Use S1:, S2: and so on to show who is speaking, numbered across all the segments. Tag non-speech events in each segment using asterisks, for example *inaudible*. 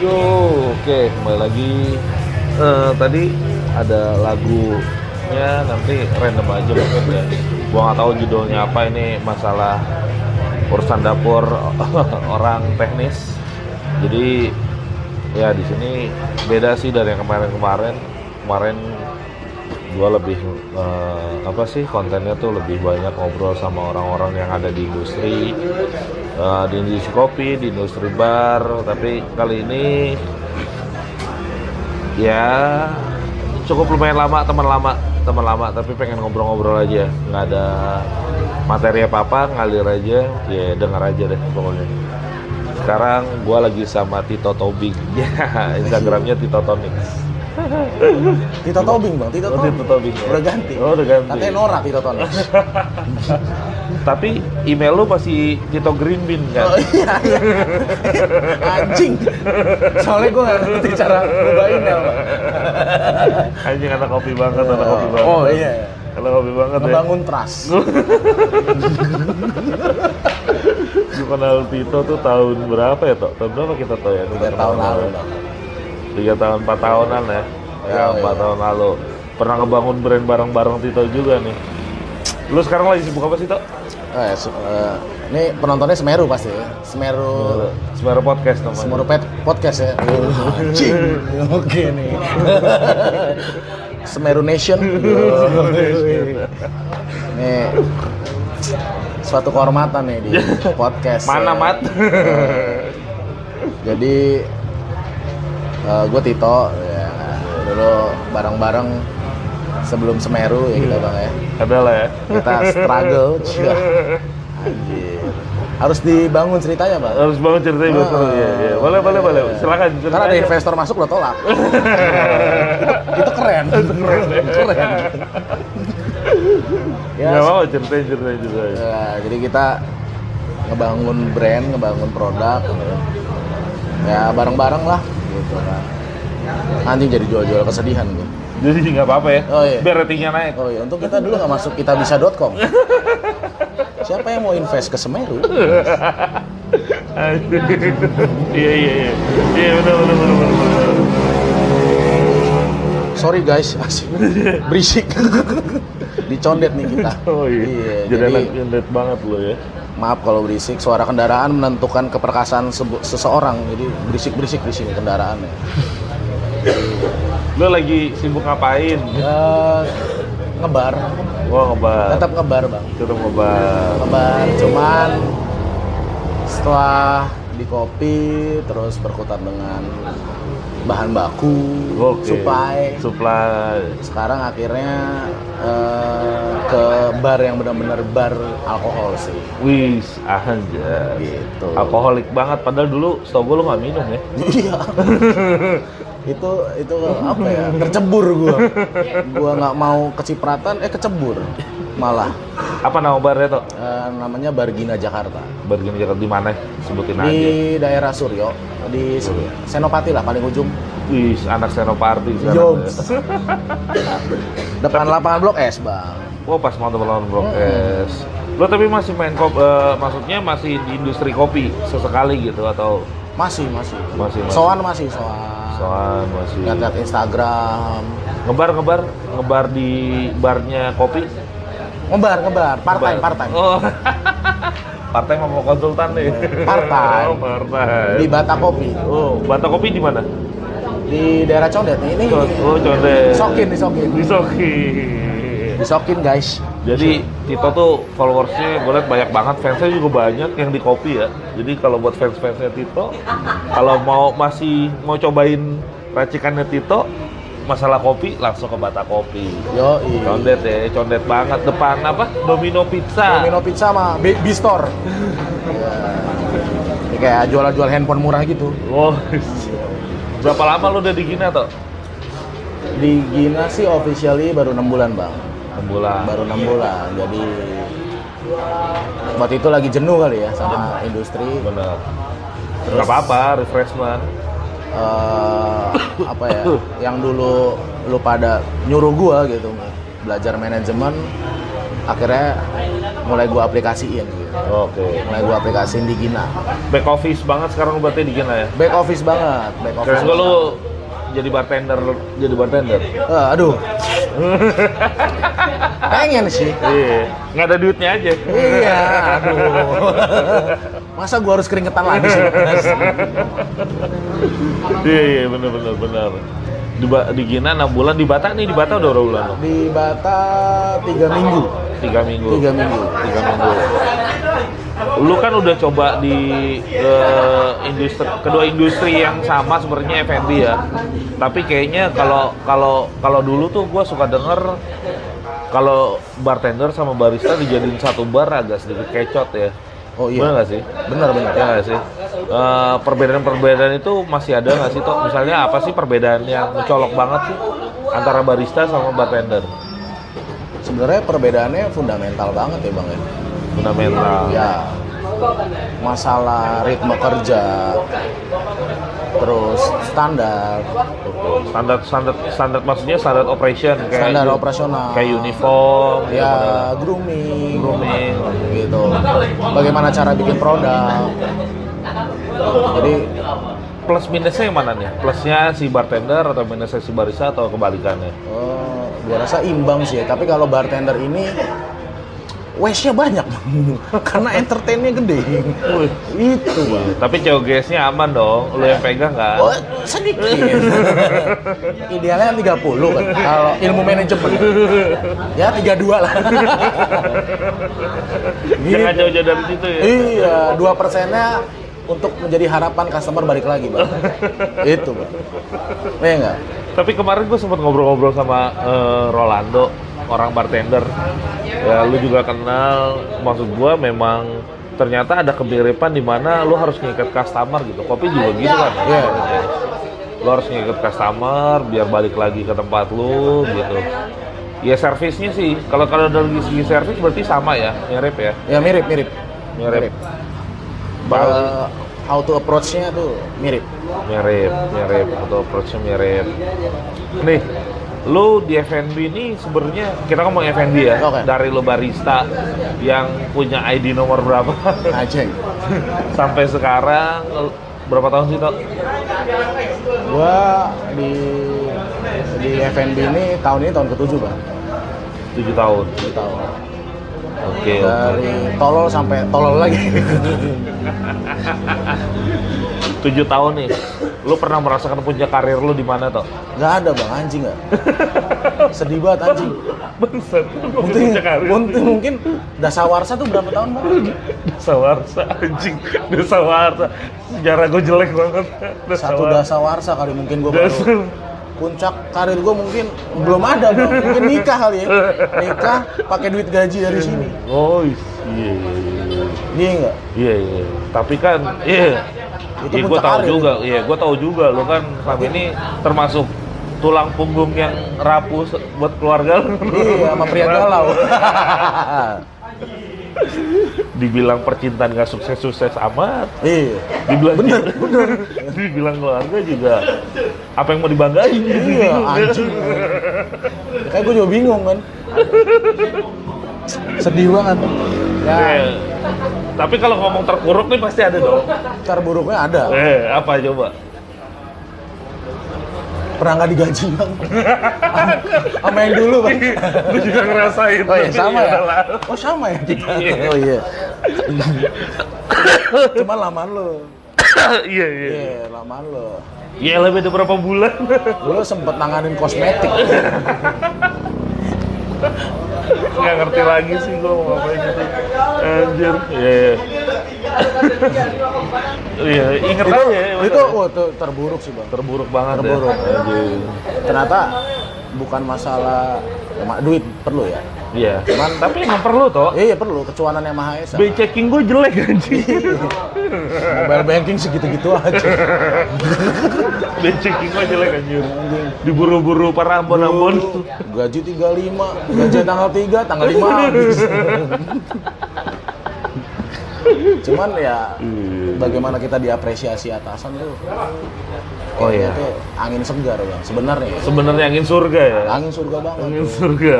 S1: Yo, oke kembali lagi. Eh, tadi ada lagunya nanti random aja mungkin ya. Gua nggak tahu judulnya apa ini masalah urusan dapur *laughs* orang teknis. Jadi ya di sini beda sih dari yang kemarin-kemarin. Kemarin gua lebih eh, apa sih kontennya tuh lebih banyak ngobrol sama orang-orang yang ada di industri eh, di industri kopi, di industri bar, tapi kali ini ya cukup lumayan lama teman lama teman lama tapi pengen ngobrol-ngobrol aja nggak ada materi apa apa ngalir aja ya dengar aja deh pokoknya sekarang gua lagi sama Tito Tobing *laughs* ya Instagramnya Tito Tonix
S2: Tito Tobing bang, Tito
S1: Oh,
S2: Tobing.
S1: Tito Tobing, ya.
S2: Udah ganti.
S1: Oh, udah ganti.
S2: Katanya norak Tito Tobing.
S1: tapi email lu masih Tito Green Bean
S2: oh
S1: kan
S2: iya, iya. Anjing. Soalnya gue gak ngerti cara ngubah email bang.
S1: anjing anak kopi banget anak kopi banget
S2: Oh iya. iya.
S1: anak kopi banget ya
S2: Ngebangun trust.
S1: Gue kenal Tito tuh tahun berapa ya, Tok? Tahun berapa kita tahu ya?
S2: Tiga tahun lalu bang.
S1: Tiga tahun, empat tahunan ya? Ya,
S2: Iya,
S1: empat
S2: iya.
S1: tahun lalu. Pernah ngebangun brand bareng-bareng Tito juga nih. Lu sekarang lagi sibuk apa sih, Tok?
S2: Oh, ya, su- eh, ini penontonnya Semeru pasti. ya. Semeru
S1: Semeru Podcast namanya.
S2: Semeru Pet Podcast ya. Anjing. Oke nih. Semeru Nation. Nih suatu kehormatan nih
S1: *laughs*
S2: di podcast.
S1: *laughs* Mana,
S2: ya.
S1: Mat? *laughs*
S2: Jadi gue Tito ya. Dulu bareng-bareng sebelum Semeru ya kita Bang ya.
S1: Ada lah ya.
S2: Kita struggle. *laughs* Cih, Anjir. Harus dibangun ceritanya, Bang. Eh,
S1: Harus bangun ceritanya
S2: Ah,
S1: buat lu. Iya, iya. Boleh, boleh, boleh. Silakan
S2: Karena ada
S1: aja.
S2: investor masuk lo
S1: *laughs*
S2: tolak. itu, itu keren. keren. ya,
S1: Nggak apa-apa, ceritain, ceritain, ceritain.
S2: ya, jadi kita ngebangun brand, ngebangun produk. Ya bareng-bareng lah gitu kan. Nanti jadi jual-jual kesedihan gitu.
S1: Jadi nggak apa-apa ya.
S2: Oh, iya.
S1: Biar ratingnya naik.
S2: Oh iya, untuk kita dulu nggak masuk kitabisa.com. Siapa yang mau invest ke Semeru?
S1: Aduh. *laughs* Iya, iya, iya. Iya, benar, benar, benar, benar, benar.
S2: Sorry guys, asik. berisik. Dicondet nih kita.
S1: Oh iya, jadi,
S2: jadi
S1: anak indet banget lo ya.
S2: Maaf kalau berisik, suara kendaraan menentukan keperkasaan sebu- seseorang. Jadi berisik-berisik di sini kendaraannya.
S1: Lo lagi sibuk ngapain?
S2: Eh, ngebar,
S1: Wah ngebar,
S2: tetap ngebar bang.
S1: tetap ngebar.
S2: Ngebar, cuman setelah dikopi terus berkutat dengan bahan baku,
S1: Oke.
S2: supply.
S1: Supply.
S2: Sekarang akhirnya eh, ke bar yang benar-benar bar alkohol sih.
S1: Wis, aja.
S2: Gitu.
S1: Alkoholik banget. Padahal dulu setahu gue lo nggak minum ya.
S2: *laughs* Iya. itu itu apa ya? Tercebur gua. Gua nggak mau kecipratan, eh kecebur malah.
S1: Apa nama barnya toh?
S2: Eh, namanya Bargina Jakarta.
S1: Bargain Jakarta di mana? Sebutin aja.
S2: Di daerah Suryo, di
S1: Oh,
S2: Se-
S1: iya.
S2: Senopati lah paling ujung.
S1: Wis, anak senoparti sekarang.
S2: Jobs.
S1: ya.
S2: Depan lapangan Blok S, Bang.
S1: Wah pas mau teman Blok S. Lo tapi masih main kopi, maksudnya masih di industri kopi sesekali gitu atau
S2: Masih, masih.
S1: Masih, masih.
S2: Soan masih, soan.
S1: soal masih
S2: Lihat-lihat Instagram.
S1: ngebar ngebar ngebar di barnya kopi
S2: Ngebar, ngebar. Part-time,
S1: Bar-
S2: part-time.
S1: Oh. *laughs* partai mau konsultan nih.
S2: Partai.
S1: *laughs* Oh, partai.
S2: Di Bata Kopi.
S1: Oh, Bata Kopi di mana?
S2: Di daerah Condet. nih. Ini,
S1: Co- Oh, condet.
S2: Sokin, disokin.
S1: Di Soki.
S2: Disokin, guys.
S1: Jadi Tito tuh followersnya gue liat banyak banget, fansnya juga banyak yang di kopi ya. Jadi kalau buat fans-fansnya Tito, kalau mau masih mau cobain racikannya Tito, masalah kopi langsung ke Bata Kopi.
S2: Yo,
S1: Condet ya, condet banget. Depan apa? Domino Pizza.
S2: Domino Pizza sama B, B Store. Iya. Ini kayak jual-jual handphone murah gitu.
S1: Wow. Berapa lama lu udah di Gina, Tok?
S2: Di Gina sih officially baru 6 bulan, Bang.
S1: 6 bulan.
S2: Baru 6 bulan. Jadi waktu itu lagi jenuh kali ya sama industri.
S1: Bener. Gak apa-apa, refreshment.
S2: Eh, apa ya? Yang dulu lu pada nyuruh gua gitu belajar manajemen akhirnya mulai gua aplikasiin gitu.
S1: Oke.
S2: mulai gua aplikasiin di Gina
S1: Back office banget sekarang lu berarti di Gina ya.
S2: back office banget back office
S1: Keren gue lu jadi bartender, jadi bartender.
S2: Eh, aduh pengen sih
S1: Iya. Nggak ada duitnya aja.
S2: iya aduh masa gua harus keringetan lagi sih Mas?
S1: Iya, iya, bener, bener, bener. Di, Ba- di Gina 6 bulan, di Batak nih, di Batak udah berapa bulan? lo?
S2: di Bata tiga minggu
S1: Tiga minggu.
S2: tiga minggu
S1: Tiga minggu. Lu kan udah coba di eh, industri kedua industri yang sama sebenarnya F&B ya. Tapi kayaknya kalau kalau kalau dulu tuh gua suka denger kalau bartender sama barista dijadiin satu bar agak sedikit kecot ya.
S2: oh
S1: Bener
S2: iya
S1: nggak sih?
S2: bener bener
S1: Ya nggak sih. Eh, perbedaan-perbedaan itu masih ada nggak sih? Tok? Misalnya apa sih perbedaan yang mencolok banget sih antara barista sama bartender?
S2: sebenarnya perbedaannya fundamental banget ya bang ya
S1: Fundamental.
S2: ya masalah ritme kerja terus standar
S1: Standar standar standar maksudnya standar operation kayak
S2: standar
S1: uni-
S2: operasional
S1: kayak uniform gitu,
S2: ya
S1: bener.
S2: grooming
S1: grooming.
S2: gitu bagaimana cara bikin produk jadi
S1: Plus minusnya yang mana nih? Plusnya si bartender atau minusnya si barista atau kebalikannya?
S2: eh, gua rasa imbang sih ya. tapi kalau bartender ini waste-nya banyak *laughs* karena entertainnya gede
S1: Wih.
S2: itu bang
S1: Tapi COGS-nya aman dong. Lu yang pegang kan?
S2: Oh, sedikit. *laughs* Idealnya 30 kan. Kalau ilmu manajemen. Ya 32 lah.
S1: Jangan
S2: Gitu.
S1: jauh-jauh dari situ ya.
S2: Iya, 2 persennya untuk menjadi harapan customer balik lagi, Bang. Itu, Bang. Iya enggak?
S1: Tapi kemarin gue sempat ngobrol-ngobrol sama eh, Rolando, orang bartender. Ya, lu juga kenal. Maksud gue memang ternyata ada kemiripan di mana lu harus ngikat customer gitu. Kopi juga gitu kan.
S2: Iya.
S1: Lu harus ngikat customer biar balik lagi ke tempat lu gitu. Ya servisnya sih. Kalau kalau dari segi servis berarti sama ya, mirip ya.
S2: Ya mirip, mirip.
S1: Mirip. Bali.
S2: Ba- how to approach-nya tuh mirip.
S1: mirip mirip atau approach mirip nih lu di F&B ini sebenarnya kita ngomong F&B ya
S2: Oke.
S1: dari lu barista yang punya ID nomor berapa *laughs*
S2: Aceh.
S1: sampai sekarang lu- berapa tahun sih Tok?
S2: Gua di di F&B ini tahun ini tahun ketujuh, Bang.
S1: 7 tahun
S2: Tujuh tahun.
S1: oke oke.
S2: dari tolol sampai tolol lagi.
S1: 7 tahun nih lu pernah merasakan puncak karir lu di mana Tok? *laughs*
S2: Gak ada bang anjing nggak. Sedih banget anjing.
S1: Bangsat,
S2: Mungkin, mungkin, mungkin dasawarsa tuh berapa tahun bang?
S1: Desa Warsa, anjing Desa Warsa Sejarah gue jelek banget Desa
S2: Satu
S1: Warsa.
S2: dasawarsa kali mungkin gue
S1: Dasar.
S2: baru. Puncak karir gue mungkin belum ada bang. Mungkin nikah kali ya. Nikah pakai duit gaji dari sini.
S1: Oh iya iya iya.
S2: Iya nggak?
S1: Iya iya. Tapi kan iya.
S2: Itu
S1: Iya
S2: puncak
S1: gue tahu
S2: karir.
S1: juga. Iya gue tahu juga. Lo kan selama ini termasuk tulang punggung yang rapuh se- buat keluarga lo.
S2: Iya, sama pria
S1: *laughs*
S2: galau.
S1: Dibilang percintaan gak sukses-sukses amat.
S2: iya.
S1: Dibilang bener, bener. *laughs* Dibilang keluarga juga. Apa yang mau dibanggain? gitu.
S2: Iya, anjing. Kayak gue juga bingung kan. Sedih banget. Ya,
S1: Iya. Tapi kalau ngomong terpuruk nih pasti ada dong.
S2: terburuknya ada.
S1: Eh, apa coba?
S2: pernah nggak digaji bang sama yang dulu bang
S1: Lu juga ngerasain.
S2: oh iya
S1: tapi
S2: sama ya
S1: adalah-
S2: oh sama ya kita
S1: Iya.
S2: oh iya cuman lamaan lo
S1: *laughs* Iya, iya.
S2: iya lamaan lo
S1: Ya lebih dari berapa bulan?
S2: lo sempet nanganin kosmetik
S1: Nggak ngerti lagi sih gua mau ngapain gitu. Anjir. Iya. Iya, inget
S2: itu
S1: aja. ya,
S2: itu
S1: bener.
S2: wah, tuh terburuk sih bang
S1: terburuk banget
S2: Terburuk.
S1: ya. Anjir.
S2: ternyata bukan masalah emang duit perlu ya
S1: Iya.
S2: Cuman-
S1: tapi emang perlu toh.
S2: iya iya, perlu kecuanan yang maha esa
S1: Bay checking gue jelek anjing. *laughs*
S2: mobile banking segitu-gitu aja
S1: Bay checking gue jelek anjir. Diburu-buru para ambon-ambon.
S2: gaji 35 gaji tanggal 3 tanggal 5 habis cuman ya bagaimana kita diapresiasi atasan tuh
S1: Oh, iya.
S2: kayaknya tuh angin segar bang sebenarnya ya.
S1: Sebenarnya angin surga ya.
S2: angin surga banget
S1: Angin
S2: tuh.
S1: surga.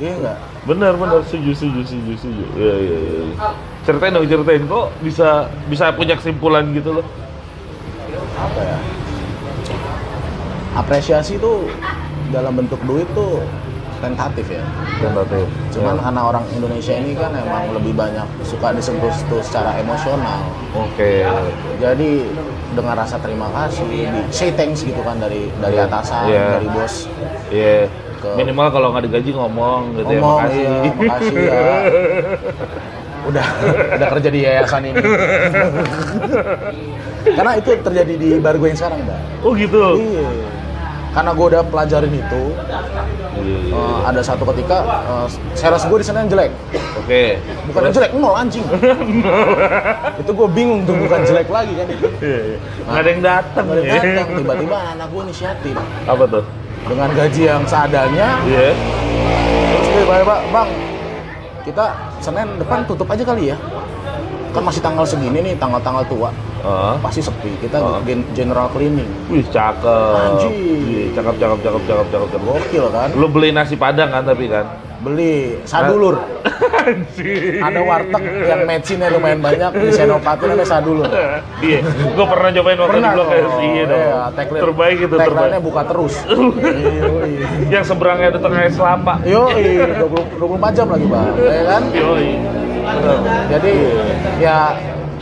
S2: iya nggak
S1: Benar benar setuju setuju setuju setuju. Iya iya iya. Ceritain dong ceritain kok bisa bisa punya kesimpulan gitu loh.
S2: apa ya apresiasi tuh dalam bentuk duit tuh tentatif ya
S1: Tentatif.
S2: cuman
S1: Iya.
S2: karena orang Indonesia ini kan emang lebih banyak suka disentuh tuh secara emosional
S1: Oke.
S2: jadi dengan rasa terima kasih di say thanks gitu kan dari dari
S1: Iya.
S2: atasan
S1: Iya.
S2: dari bos
S1: Iya.
S2: Ke-
S1: Minimal kalau nggak digaji ngomong gitu
S2: ngomong
S1: ya. Makasih.
S2: iya makasih ya udah udah kerja di yayasan
S1: *laughs*
S2: ini karena itu terjadi di bar gue yang sekarang mbak
S1: *laughs* oh gitu.
S2: iya karena gue udah pelajarin itu
S1: Iya, iya.
S2: eh, ada satu ketika eh, sales gue di sana yang jelek
S1: Oke.
S2: bukan yang jelek nol
S1: *laughs*
S2: anjing itu gue bingung tuh bukan jelek lagi
S1: *laughs*
S2: kan
S1: Iya, iya. Nggak ada yang datang.
S2: Baru
S1: ya.
S2: datang tiba-tiba anak gue inisiatif
S1: *laughs* Apa tuh?
S2: dengan gaji yang seadanya
S1: Iya.
S2: Terus dia bilang, "Pak, bang, kita Senin depan tutup aja kali ya. Kan masih tanggal segini nih, tanggal-tanggal tua.
S1: Oh.
S2: Pasti sepi, kita
S1: Oh.
S2: gen- general cleaning.
S1: Wih cakep.
S2: Anjing.
S1: Iya, Cakep cakep cakep cakep cakep cakep.
S2: Gokil kan?
S1: Lu beli nasi padang kan tapi kan?
S2: Beli sadulur.
S1: Anjing.
S2: Ada warteg yang matchingnya lumayan banyak, di Senopati namanya sadulur.
S1: *laughs* Iya, gua pernah cobain waktu di Blok S. Iya dong.
S2: tagline-
S1: terbaik itu terbaik.
S2: tagline-nya buka terus. Yoi.
S1: Yang seberangnya ada tengah es kelapa.
S2: Yoi, 20 24 jam lagi, Bang. Ya kan?
S1: Yoi.
S2: Jadi ya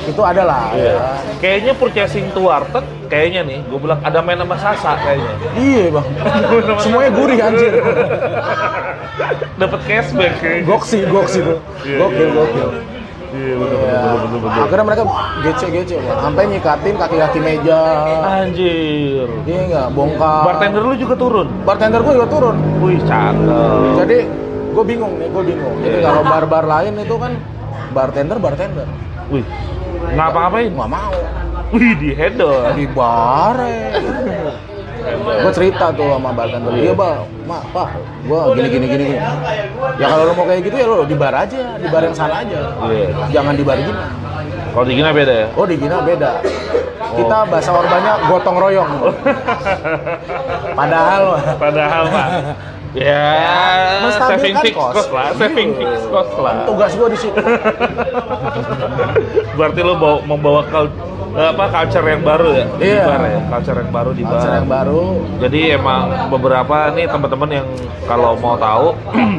S2: itu adalah
S1: Iya.
S2: ya.
S1: Kayaknya purchasing to warteg kayaknya nih, gua bilang ada main sama Sasa kayaknya.
S2: Iya bang, semuanya gurih anjir.
S1: Dapat cashback kayaknya.
S2: Goksi, goksi tuh.
S1: Iya,
S2: Gokil,
S1: iya.
S2: gokil.
S1: Iya, betul betul
S2: Ya,
S1: betul betul. betul.
S2: Akhirnya mereka gece gece, Bang. sampai nyikatin kaki-kaki meja.
S1: Anjir.
S2: Iya nggak, bongkar.
S1: Bartender lu juga turun.
S2: bartender gue juga turun.
S1: Wih, cakep.
S2: Jadi gue bingung nih, gue bingung. Jadi
S1: Iya.
S2: kalau bar-bar lain itu kan bartender bartender
S1: Wih. Ngapa-ngapain?
S2: nggak mau
S1: Wih, di handle.
S2: di bar eh. gue cerita tuh sama bartender
S1: Iya.
S2: iya bang mak pak gue gini gini gini gini ya kalau lo mau kayak gitu ya lo di bar aja di bar yang sana aja
S1: Iya.
S2: jangan di bar gini
S1: Kalau di Gina beda ya?
S2: Oh di Gina beda.
S1: Oh.
S2: Kita bahasa Orbanya gotong royong.
S1: *laughs*
S2: Padahal
S1: *laughs* Padahal Pak. Ya, kan saving
S2: menstabilkan
S1: fix cost, lah, saving
S2: kan, Iya.
S1: fix cost lah.
S2: Tugas gua di situ.
S1: *laughs* Berarti lo bawa, membawa kal- apa culture yang baru ya di
S2: Iya.
S1: bar ya, culture yang baru di bar.
S2: Acara yang baru.
S1: Jadi emang beberapa nih teman-teman yang kalau mau tahu *clears throat*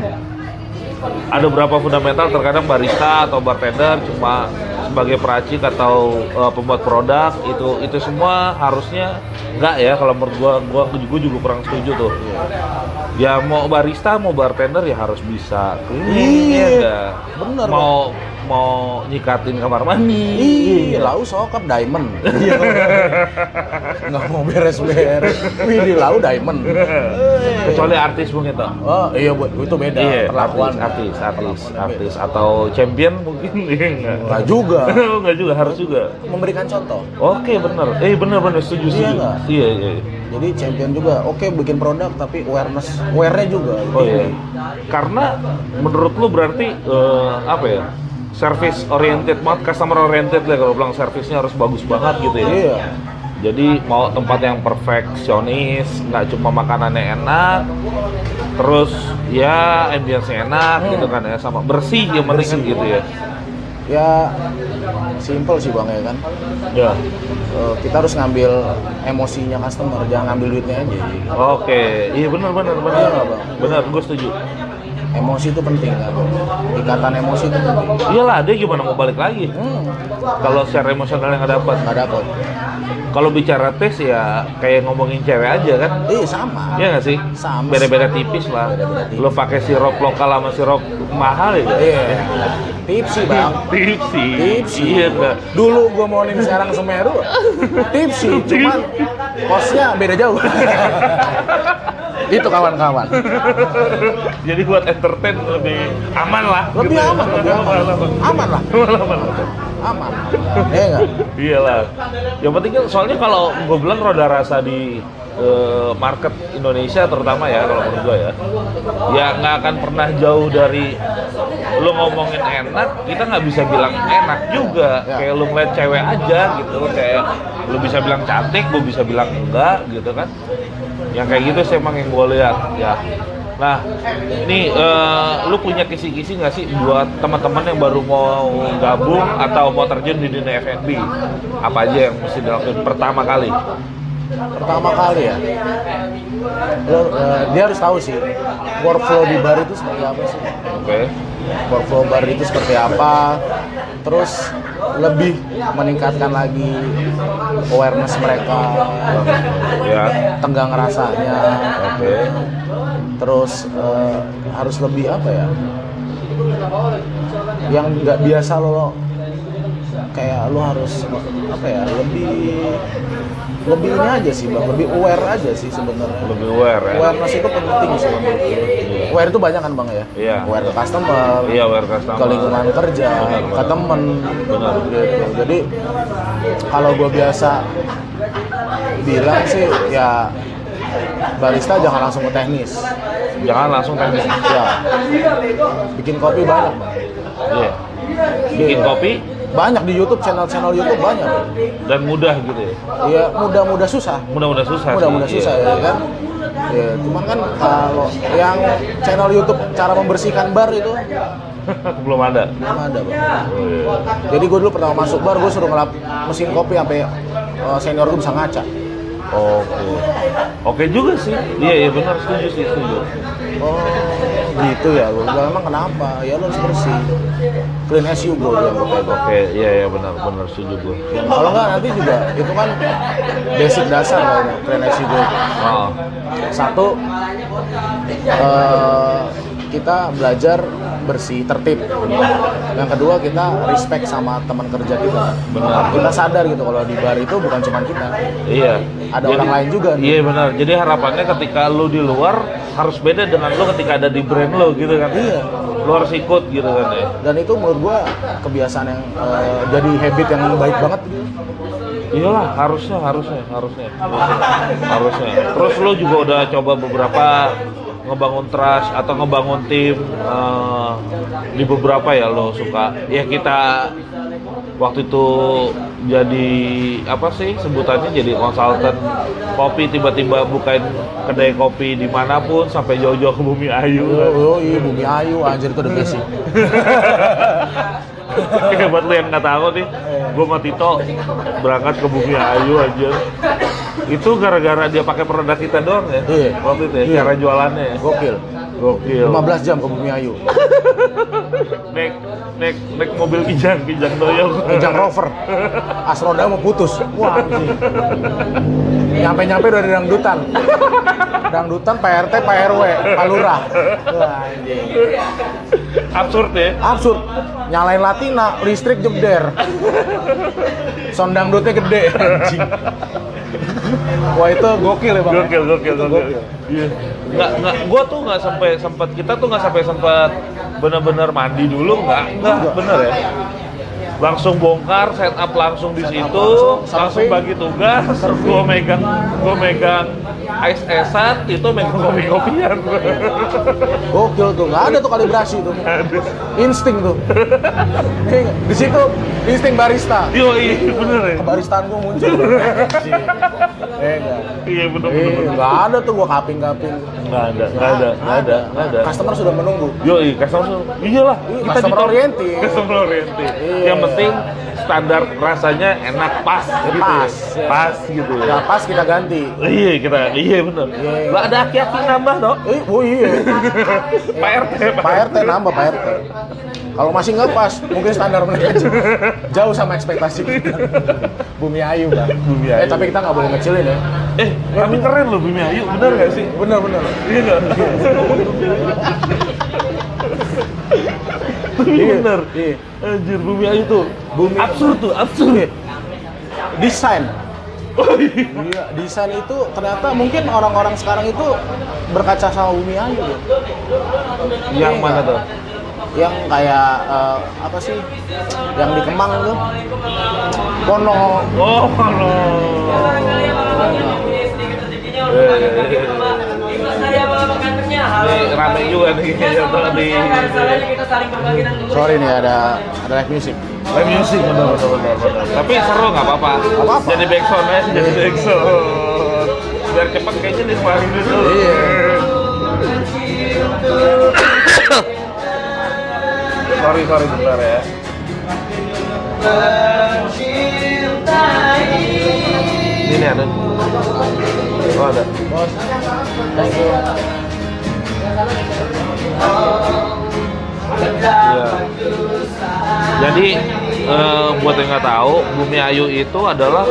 S1: ada berapa fundamental terkadang barista atau bartender cuma sebagai peracik atau eh, pembuat produk itu itu semua harusnya enggak ya kalau menurut gua gua gua juga kurang setuju tuh. Ya mau barista mau bartender ya harus bisa cleaning
S2: Iya,
S1: ya enggak?
S2: bener,
S1: Mau mau nyikatin kamar mandi.
S2: Ih, lau sokap diamond. Iya. *laughs* Nggak mau beres-beres. Wih, di lau diamond.
S1: Kecuali artis mungkin toh.
S2: Oh, iya Bu, itu beda
S1: Iya,
S2: perlakuan.
S1: artis, artis, artis,
S2: Perlakuan
S1: artis atau champion mungkin *laughs* iya enggak.
S2: beda. Nggak juga
S1: Enggak juga harus juga.
S2: memberikan contoh.
S1: Oke, bener. Eh, bener bener setuju
S2: Iya
S1: setuju.
S2: nggak?
S1: Iya, iya. iya.
S2: Jadi champion juga. Oke, bikin produk tapi awareness, aware-nya juga.
S1: Oh iya. Karena menurut lu berarti eh, apa ya? Service oriented banget, customer oriented lah kalau bilang servicenya harus bagus banget gitu ya.
S2: Iya.
S1: Jadi mau tempat yang perfeksionis, nggak cuma makanannya enak, terus ya ambience-nya enak gitu
S2: Hmm.
S1: kan ya, sama bersih yang penting kan gitu ya.
S2: Ya simple sih Bang ya kan.
S1: Ya.
S2: Eh, kita harus ngambil emosinya customer jangan ngambil duitnya aja
S1: Oke, iya benar benar benar.
S2: Iya nggak, Bang?
S1: Benar, gue setuju.
S2: emosi itu penting kan ikatan emosi itu penting
S1: Iyalah, dia gimana mau balik lagi?
S2: hmm,
S1: Kalau secara emosional yang nggak dapat.
S2: nggak dapat
S1: Kalau bicara tes ya kayak ngomongin cewek aja kan?
S2: eh sama
S1: Iya nggak sih?
S2: Sama.
S1: Beda-beda tipis lah.
S2: Beda-beda tipis.
S1: Lo pakai sirup lokal sama sirup mahal ya?
S2: iya tipsi bang
S1: Tipsi.
S2: tipsi
S1: Iya nggak?
S2: dulu gue mau nih sekarang Semeru *laughs* tipsi cuman kosnya beda *laughs* jauh itu kawan-kawan
S1: *laughs* Jadi buat entertain lebih aman lah.
S2: lebih
S1: gitu ya.
S2: aman lebih aman aman lah
S1: Aman, aman, aman.
S2: aman iya nggak
S1: Iyalah. Yang penting kan soalnya kalau gue bilang roda rasa di eh, market Indonesia terutama ya kalau menurut gua ya ya nggak akan pernah jauh dari lu ngomongin enak kita nggak bisa bilang enak juga
S2: Ya.
S1: kayak lu ngeliat cewek aja gitu kayak lu bisa bilang cantik gua bisa bilang enggak gitu kan yang kayak gitu sih emang yang gua lihat ya nah ini eh, lu punya kisi-kisi nggak sih buat teman-teman yang baru mau gabung atau mau terjun di dunia F&B apa aja yang mesti dilakukan pertama kali
S2: pertama kali ya lo, eh, dia harus tahu sih workflow di bar itu seperti apa sih
S1: oke
S2: workflow bar itu seperti apa terus lebih meningkatkan lagi awareness mereka
S1: ya
S2: tenggang rasanya
S1: oke
S2: terus eh, harus lebih apa ya yang nggak biasa lo kayak lo harus apa ya lebih lebih ini aja sih bang lebih aware aja sih sebenarnya
S1: lebih aware ya
S2: awareness itu penting sih Bang. aware itu banyak kan bang ya
S1: Iya.
S2: aware ke customer
S1: iya aware customer
S2: ke lingkungan kerja
S1: Benar,
S2: ke
S1: benar.
S2: temen
S1: Iya, Benar.
S2: gitu. jadi kalau gue biasa bilang sih ya barista jangan langsung ke teknis
S1: jangan langsung gitu. teknis
S2: ya bikin kopi banyak Bang.
S1: Iya. bikin
S2: Iya.
S1: kopi
S2: banyak di YouTube channel-channel YouTube banyak
S1: dan mudah gitu ya
S2: ya mudah-mudah susah
S1: mudah-mudah susah sih,
S2: mudah-mudah
S1: iya.
S2: susah ya kan ya cuman kan kalau yang channel YouTube cara membersihkan bar itu
S1: *laughs* belum ada
S2: belum ada
S1: Oh,
S2: bang
S1: iya.
S2: jadi gue dulu pertama masuk bar gue suruh ngelap mesin kopi sampai eh, senior gue bisa ngaca
S1: iya. Oke. Oke juga sih. Iya, iya benar setuju sih, setuju.
S2: oh gitu ya gue bilang emang kenapa ya lo harus bersih clean as you bro bilang gue kayak gitu.
S1: Oke, iya iya benar benar setuju gue.
S2: kalau nggak nanti juga itu kan basic dasar kayaknya clean as you go
S1: Heeh.
S2: satu eh, kita belajar bersih tertib yang kedua kita respect sama teman kerja kita
S1: Benar.
S2: kita sadar gitu kalau di bar itu bukan cuma kita
S1: Iya.
S2: Ada orang lain juga.
S1: Iya benar. Jadi harapannya ketika lu di luar harus beda dengan lu ketika ada di brand lu gitu kan.
S2: Iya.
S1: Lu harus ikut gitu kan ya.
S2: dan itu menurut gua kebiasaan yang eh, jadi habit yang baik banget gitu.
S1: Iyalah, harusnya harusnya harusnya. Harusnya. Terus lu juga udah coba beberapa ngebangun trust atau ngebangun tim eh, di beberapa ya lo suka ya kita waktu itu jadi apa sih sebutannya jadi konsultan kopi tiba-tiba bukain kedai kopi dimanapun sampai jauh-jauh ke bumi ayu kan.
S2: oh, oh iya bumi ayu anjir itu the basic
S1: Oke, buat lo yang nggak tahu nih, gue sama Tito berangkat ke Bumi Ayu aja. Itu gara-gara dia pakai produk kita doang ya?
S2: Iya.
S1: Waktu itu ya,
S2: Iya.
S1: cara jualannya ya?
S2: gokil
S1: Gokil.
S2: 15 jam ke bumi ayu
S1: Naik, naik, naik mobil kijang, kijang doyong.
S2: Kijang Rover. As roda mau putus. Wah, anjing. Nyampe-nyampe udah di dangdutan. Dangdutan PRT, Pak RW, Pak Lurah. Wah, anjing.
S1: Absurd ya?
S2: Absurd. Nyalain Latina, listrik jebder. Sound dangdutnya gede, anjing. Wah, itu gokil ya, Bang.
S1: Gokil, gokil,
S2: Itu
S1: gokil. Iya. Nggak, nggak, gue tuh nggak sampai sempat, kita tuh nggak sampai sempat benar-benar mandi dulu, nggak, nggak, bener ya. Langsung bongkar, set up langsung di situ,
S2: langsung,
S1: langsung
S2: surfing.
S1: bagi tugas, gue megang, gue megang ice esan, itu megang *laughs* kopi-kopian.
S2: Gokil tuh, nggak ada tuh kalibrasi tuh. Insting tuh. Oke, Di situ insting barista.
S1: Yoi, bener ya.
S2: Kebaristaan gua muncul. Anjing. Eh, nggak.
S1: Iya, bener, bener,
S2: Eh,
S1: bener.
S2: nggak ada tuh gua kaping-kaping.
S1: Nggak ada, nggak ada, nggak ada, nggak ada.
S2: Customer sudah menunggu.
S1: Yoi, customer, iyalah,
S2: Iya,
S1: kita
S2: customer
S1: ditolong- *laughs*
S2: oriented.
S1: Customer oriented.
S2: Iya.
S1: Yang penting standar rasanya enak pas gitu. ya.
S2: Pas.
S1: Pas gitu ya.
S2: Nggak pas kita ganti.
S1: Iya kita, iya bener.
S2: Iya.
S1: Lah ada aki-aki nambah dong.
S2: Eh, oh iya.
S1: Pak RT,
S2: Pak RT nambah Pak RT. Kalau masih nggak pas, mungkin standar mereka aja. jauh sama ekspektasi kita. Bumi Ayu bang.
S1: Bumi Ayu.
S2: Eh tapi kita nggak boleh ngecilin ya.
S1: Eh, tapi keren loh Bumi Ayu, bener gak sih?
S2: Bener bener.
S1: Iya
S2: *laughs*
S1: nggak? Tapi
S2: Iya,
S1: bener.
S2: iya.
S1: Anjir Bumi Ayu tuh,
S2: Bumi- ya. Iya.
S1: absurd tuh, absurd.
S2: Desain.
S1: Oh,
S2: Iya, desain itu ternyata mungkin orang-orang sekarang itu berkaca sama Bumi Ayu. ya.
S1: Yang
S2: Iya.
S1: mana tuh?
S2: yang kayak eh, apa sih yang di Kemang itu Pono
S1: Oh, kalau di
S3: kita saling berbagi dan
S2: Sorry nih ada ada live music.
S1: live music benar benar benar benar. Tapi seru nggak apa-apa.
S2: apa-apa.
S1: Jadi backsound aja jadi backsound. Biar cepet kayaknya dikeluarin dulu.
S2: Iya.
S1: sorry sorry bentar ya. Ini nih ada. Oh ada.
S2: Bos. Thank you.
S1: Iya. Jadi eh, buat yang nggak tahu, Bumi Ayu itu adalah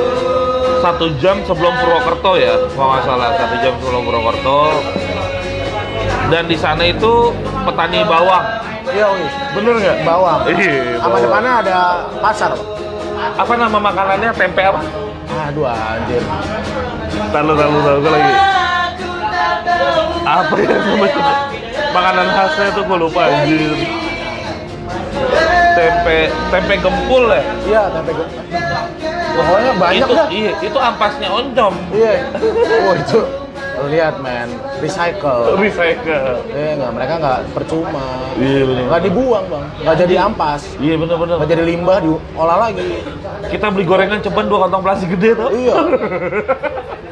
S1: satu jam sebelum Purwokerto ya, kalau nggak salah satu jam sebelum Purwokerto. Dan di sana itu petani bawang.
S2: Iya, Wi.
S1: Bener nggak?
S2: Bawang.
S1: Iya.
S2: Sama
S1: bawang.
S2: depannya ada pasar.
S1: Apa nama makanannya? Tempe apa?
S2: Aduh anjir.
S1: Tahu tahu tahu gue lagi. Apa ya namanya? Makanan khasnya itu gue lupa. anjir. Tempe tempe gempul ya.
S2: Iya, tempe goreng. Pokoknya banyak
S1: itu,
S2: dah.
S1: Iya, itu ampasnya oncom.
S2: Iya. Oh, itu Lu lihat men, recycle.
S1: Recycle.
S2: Eh, enggak, mereka nggak percuma.
S1: Iya, bener.
S2: Nggak dibuang, Bang. Nggak jadi ampas.
S1: Iya bener-bener.
S2: Nggak jadi limbah diolah lagi.
S1: Kita beli gorengan ceban dua kantong plastik gede tuh.
S2: Iya.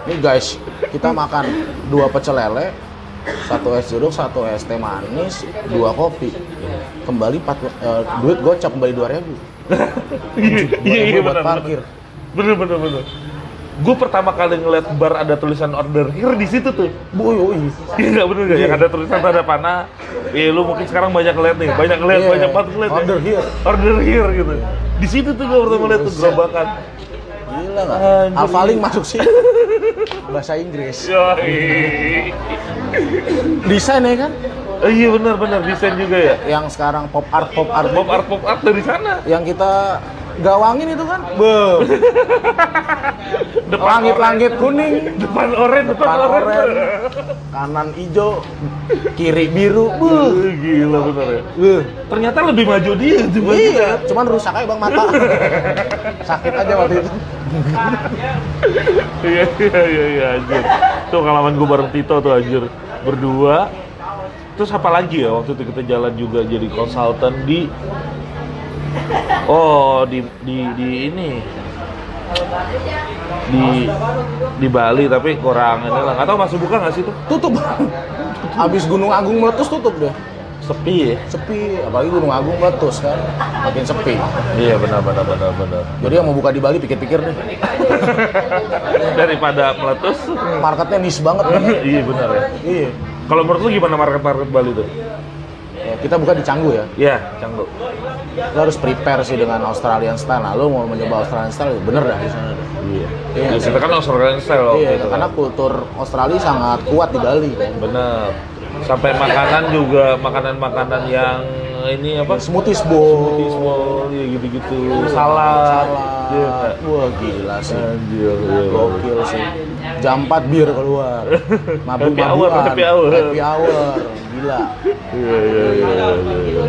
S2: Ini guys, kita makan dua pecel lele, satu es jeruk, satu es teh manis, dua kopi. Kembali empat, eh, duit gocap kembali dua ribu.
S1: *laughs* Iya iya iya
S2: buat
S1: bener.
S2: parkir.
S1: Bener bener bener. Gue pertama kali ngeliat bar ada tulisan order here di situ tuh.
S2: Bu, yoi.
S1: Iya nggak bener nggak? Yang ada tulisan tanda panah. Iya lu mungkin sekarang banyak ngeliat nih, banyak ngeliat,
S2: Iya,
S1: banyak banget ngeliat. ya.
S2: Order here.
S1: Order here gitu. Di situ tuh gue pertama ngeliat tuh gerobakan.
S2: Gila nggak?
S1: Anjing.
S2: Alfaling masuk sih. Bahasa Inggris.
S1: Yoi.
S2: Desain ya kan?
S1: Oh, Iya bener bener desain juga ya.
S2: Yang sekarang pop art, pop art. gitu.
S1: Pop art pop art dari sana.
S2: Yang kita gawangin itu kan? Be.
S1: Depan orang.
S2: Langit-langit kuning.
S1: depan oren depan,
S2: Oh, Depan
S1: oren,
S2: oren, kanan hijau, kiri biru. Buh.
S1: Eh, gila bener ya
S2: Buh.
S1: ternyata lebih maju dia dibanding kita.
S2: Eh. Iya, cuman rusak aja bang mata. Sakit aja waktu itu.
S1: iya iya iya iya anjir tuh pengalaman gue bareng Tito tuh anjir berdua terus apa lagi ya waktu itu kita jalan juga jadi konsultan di oh di di di ini di di Bali tapi kurang ini lah nggak tahu masih buka nggak sih tuh
S2: Tutup. Abis Gunung Agung meletus tutup deh.
S1: sepi ya
S2: Sepi, apalagi Gunung Agung meletus kan, makin sepi.
S1: iya benar benar benar benar
S2: Jadi yang mau buka di Bali pikir-pikir deh.
S1: daripada meletus
S2: Marketnya niche banget. Kan?
S1: *laughs* iya benar ya
S2: Iya.
S1: kalau menurut lu gimana market market Bali tuh
S2: Ya, kita buka di Canggu ya.
S1: Iya, canggung.
S2: Lo harus prepare sih dengan Australian style. Nah, lo mau mencoba Australian style, ya bener dah di sana. dah.
S1: Iya.
S2: Iya.
S1: Di situ kan Australian style waktu
S2: Iya,
S1: itu.
S2: karena kultur Australia sangat kuat di Bali. kan.
S1: Bener. Sampai makanan juga makanan-makanan yang ini apa?
S2: Smoothies bowl,
S1: Baseball, ya gitu-gitu. Salad. Iya.
S2: salad. Wah gila sih.
S1: Anjir, iya.
S2: Gokil sih. Jam 4 bir keluar. Mabuk
S1: Happy hour,
S2: mabukan.
S1: happy hour.
S2: Happy hour. Gila.
S1: Iya, iya, iya, iya, iya.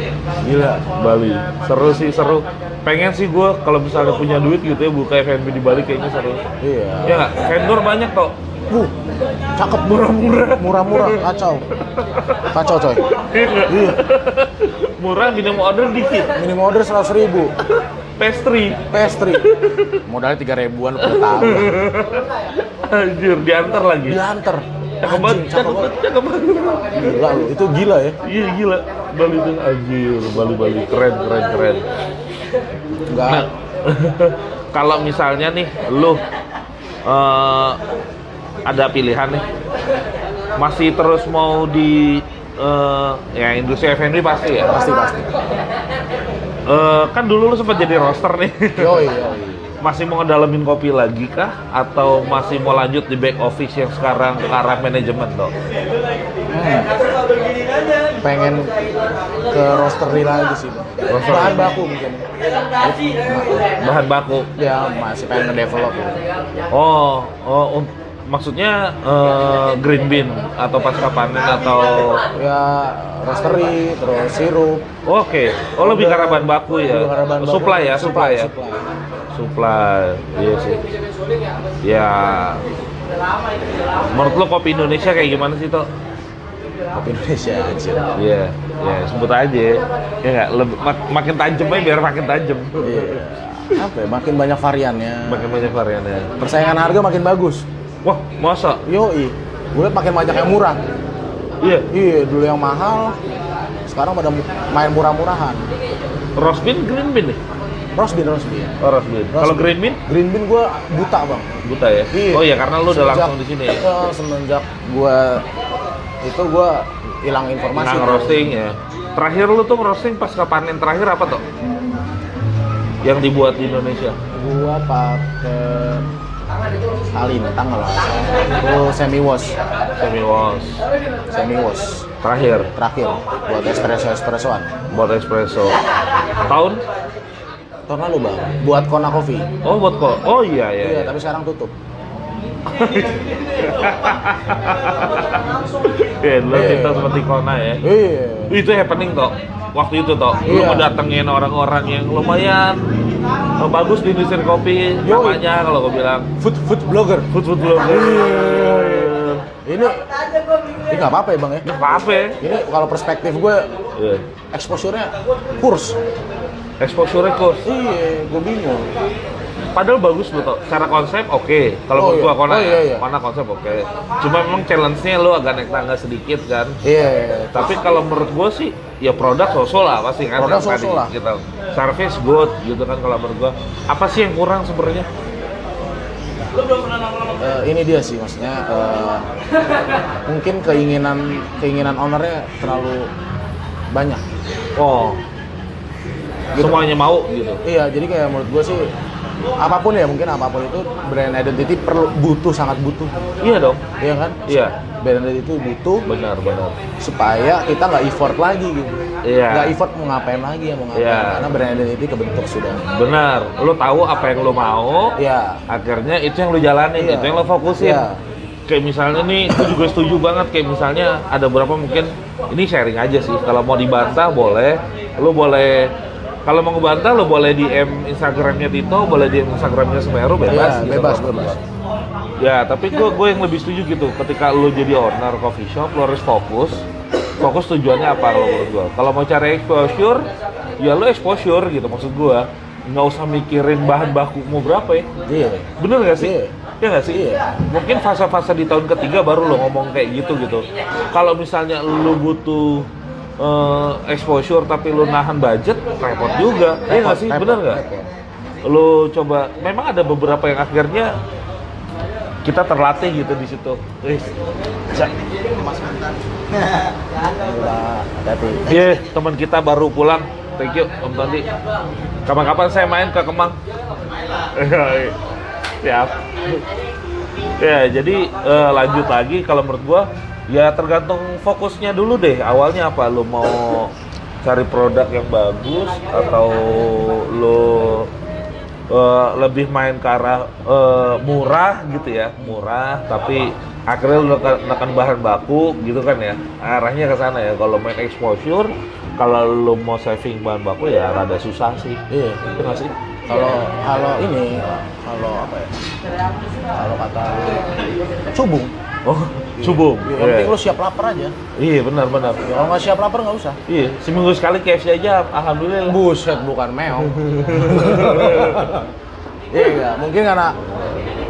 S2: Gila.
S1: Bali, seru sih seru. Pengen sih gue kalau misalnya punya duit gitu ya buka F&B di Bali kayaknya seru.
S2: Iya.
S1: Ya nggak? Vendor banyak kok.
S2: Uh, cakep murah-murah. Murah-murah, kacau. Kacau coy.
S1: Iya nggak? Murah minimum order dikit.
S2: Minimum order 100 ribu.
S1: Pastry.
S2: Pastry. Modalnya 3 ribuan per tahun.
S1: Anjir, diantar lagi.
S2: Dianter.
S1: Cakep banget,
S2: Anjing,
S1: Iya. cakep banget, cakep banget.
S2: Gila lu, itu gila ya.
S1: Iya gila, Bali itu anjir, Bali Bali keren keren keren. Nah,
S2: Enggak.
S1: *laughs* kalau misalnya nih lu eh, ada pilihan nih, masih terus mau di eh, ya industri F&B pasti ya.
S2: Pasti pasti.
S1: Eh, kan dulu lu sempat jadi roster nih. *laughs*
S2: Yoi, yoi.
S1: masih mau ngedalamin kopi lagi kah? Atau masih mau lanjut di back office yang sekarang ke arah manajemen dong? Hmm.
S2: pengen ke roastery lagi sih Bang.
S1: Roastery.
S2: bahan baku mungkin
S1: Bahan baku.
S2: ya masih pengen ngedevelop ya.
S1: Oh, oh un- maksudnya eh, green bean atau pasca panen atau
S2: ya roastery terus sirup
S1: oke, oh lebih ke arah bahan baku ya.
S2: Lebih ke arah bahan baku.
S1: Supply ya, supply ya.
S2: supply.
S1: Supply. Iya sih. Ya. Menurut lo kopi Indonesia kayak gimana sih, Tok?
S2: Kopi Indonesia anjir.
S1: Iya, iya sebut aja. Ya nggak, lebih- mak- makin tajam aja biar makin tajam.
S2: Iya. Apa ya, makin banyak variannya.
S1: Makin banyak variannya.
S2: Persaingan harga makin bagus.
S1: Wah, masa?
S2: Yoi. Gue liat makin banyak yang murah.
S1: Iya,
S2: Iya, dulu yang mahal, sekarang pada mu- main murah-murahan.
S1: roast bean, green bean nih.
S2: Roast bean, roast bean.
S1: Oh, roast bean. Kalau green bean
S2: Green bean gue buta bang.
S1: buta ya. Oh iya, karena lu udah
S2: Semenjak-
S1: langsung di sini ya.
S2: Eh, semenjak gue itu gue hilang informasi.
S1: Nah, roasting ya. Terakhir lu tuh roasting pas panen terakhir apa tuh? Yang dibuat di Indonesia.
S2: Gue pakai Kalimantan kalau nggak salah. itu semi wash,
S1: Semi wash.
S2: semi wash
S1: Terakhir
S2: terakhir buat espresso espressoan.
S1: buat espresso. Tahun?
S2: Tahun lalu bang, buat Kona Coffee.
S1: Oh, buat kok. Oh iya iya.
S2: Iya,
S1: iya.
S2: tapi sekarang tutup.
S1: Iya, lu
S2: Iya.
S1: cerita seperti Kona ya.
S2: Iya.
S1: Itu happening toh. Waktu itu toh, lu
S2: Iya.
S1: mau datengin orang-orang yang lumayan eh, bagus di industri kopi,
S2: Yo.
S1: namanya kalau gue bilang
S2: Food food blogger.
S1: food food belum.
S2: Iya, Ini ini nggak apa-apa ya bang ya.
S1: Apa? ya?
S2: Ini kalau perspektif gue
S1: Iya.
S2: exposure-nya kurs.
S1: Exposure course.
S2: Iya, gue bingung.
S1: Padahal bagus loh, Tok. secara konsep oke.
S2: Oh,
S1: Kalau menurut gua
S2: iya.
S1: Kona,
S2: Oh, iya, iya.
S1: Kona konsep oke. Cuma memang challenge-nya lu agak naik tangga sedikit kan.
S2: Iya,
S1: Tapi kalau menurut gua sih, ya produk sosok lah pasti kan.
S2: Produk
S1: yang tadi
S2: sosok lah.
S1: Kita, service good gitu kan kalau menurut gua. Apa sih yang kurang sebenarnya?
S2: eh, ini dia sih maksudnya eh, mungkin keinginan keinginan ownernya terlalu banyak.
S1: Oh,
S2: Gitu.
S1: semuanya mau gitu.
S2: Iya, jadi kayak menurut gue sih apapun ya mungkin apapun itu brand identity perlu butuh sangat butuh,
S1: Iya dong.
S2: iya kan?
S1: Iya,
S2: Brand identity butuh
S1: benar benar.
S2: supaya kita nggak effort lagi gitu.
S1: Iya.
S2: Nggak effort mau ngapain lagi ya mau ngapain?
S1: Iya.
S2: Karena brand identity kebentuk sudah.
S1: Benar. Lu tahu apa yang lu mau,
S2: Iya.
S1: akhirnya itu yang lu jalanin,
S2: Iya.
S1: itu yang lu fokusin.
S2: Iya.
S1: Kayak misalnya nih, gue juga setuju banget kayak misalnya ada berapa mungkin ini sharing aja sih. Kalau mau dibantah boleh, lu boleh kalau mau ngebantah lu boleh DM Instagramnya Tito, boleh DM Instagramnya Semeru bebas.
S2: Iya,
S1: gitu.
S2: bebas, bebas.
S1: Ya, tapi gue gue yang lebih setuju gitu. Ketika lu jadi owner coffee shop, lu harus fokus. Fokus tujuannya apa kalau menurut gue? Kalau mau cari exposure, ya lu exposure gitu maksud gue. Nggak usah mikirin bahan baku mau berapa ya.
S2: Iya.
S1: Bener nggak sih?
S2: Iya.
S1: Ya nggak sih?
S2: Iya.
S1: Mungkin fase-fase di tahun ketiga baru lo ngomong kayak gitu gitu. Kalau misalnya lo butuh eh, exposure tapi lo nahan budget, repot juga. Iya nggak sih?
S2: repot,
S1: Bener nggak?
S2: repot.
S1: Lo coba, memang ada beberapa yang akhirnya kita terlatih gitu di situ. Wih, ja-
S2: Gila, hati-hati.
S1: Iya, teman kita baru pulang. Thank you, Om Tandi. Kapan-kapan saya main ke Kemang. Iya, Siap. Ya, jadi eh, lanjut lagi kalau menurut gua ya tergantung fokusnya dulu deh. Awalnya apa lu mau cari produk yang bagus atau lu eh, lebih main ke arah eh, murah gitu ya, murah tapi akhirnya lu nekan, nekan bahan baku gitu kan ya. Arahnya ke sana ya kalau main exposure kalau lu mau saving bahan baku ya rada susah sih.
S2: Iya.
S1: Itu nggak sih?
S2: Kalau kalau ini kalau apa ya? Kalau kata cubung.
S1: Oh, *laughs* subuh.
S2: Ya, yang penting lu siap lapar aja.
S1: Iya, benar-benar.
S2: Ya, kalau nggak siap lapar nggak usah.
S1: Iya, seminggu sekali KFC aja, alhamdulillah.
S2: Buset bukan
S1: *laughs*
S2: meong. Iya, iya. mungkin karena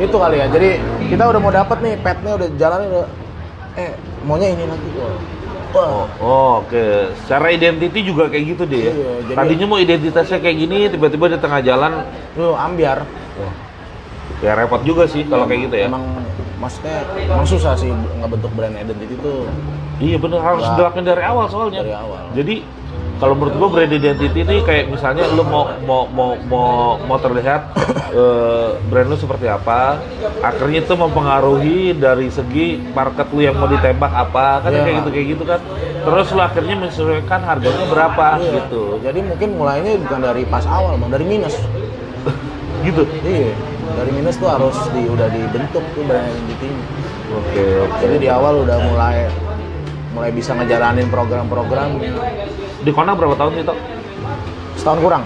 S2: itu kali ya. Jadi kita udah mau dapet nih, petnya udah jalannya udah. Eh, maunya ini nanti. Wah. Wah.
S1: Oh, oke. Secara identity juga kayak gitu deh ya.
S2: Iya, jadi-
S1: Tadinya mau identitasnya kayak gini, tiba-tiba di tengah jalan,
S2: Lu ambiar.
S1: wah, ya repot juga sih kalau kayak gitu ya.
S2: Emang maksudnya emang susah sih ngebentuk brand identity tuh.
S1: Iya bener, harus
S2: Wah.
S1: diterapin dari awal soalnya.
S2: Dari awal.
S1: Jadi kalau menurut gua brand identity ini kayak misalnya lu mau mau mau mau, mau
S2: *coughs*
S1: terlihat eh, brand lu seperti apa, akhirnya itu mempengaruhi dari segi market lu yang mau ditembak apa, kan
S2: Iya.
S1: kayak gitu kayak gitu kan. Terus lu akhirnya menyesuaikan harganya berapa
S2: Iya.
S1: gitu.
S2: Jadi mungkin mulainya bukan dari pas awal, Bang, dari minus.
S1: Gitu.
S2: Iya, dari minus tuh harus di, udah dibentuk tuh brand identity.
S1: Oke, oke.
S2: Jadi di awal udah mulai mulai bisa ngejalanin program-program
S1: Di Kona berapa tahun sih, Tok?
S2: setahun kurang,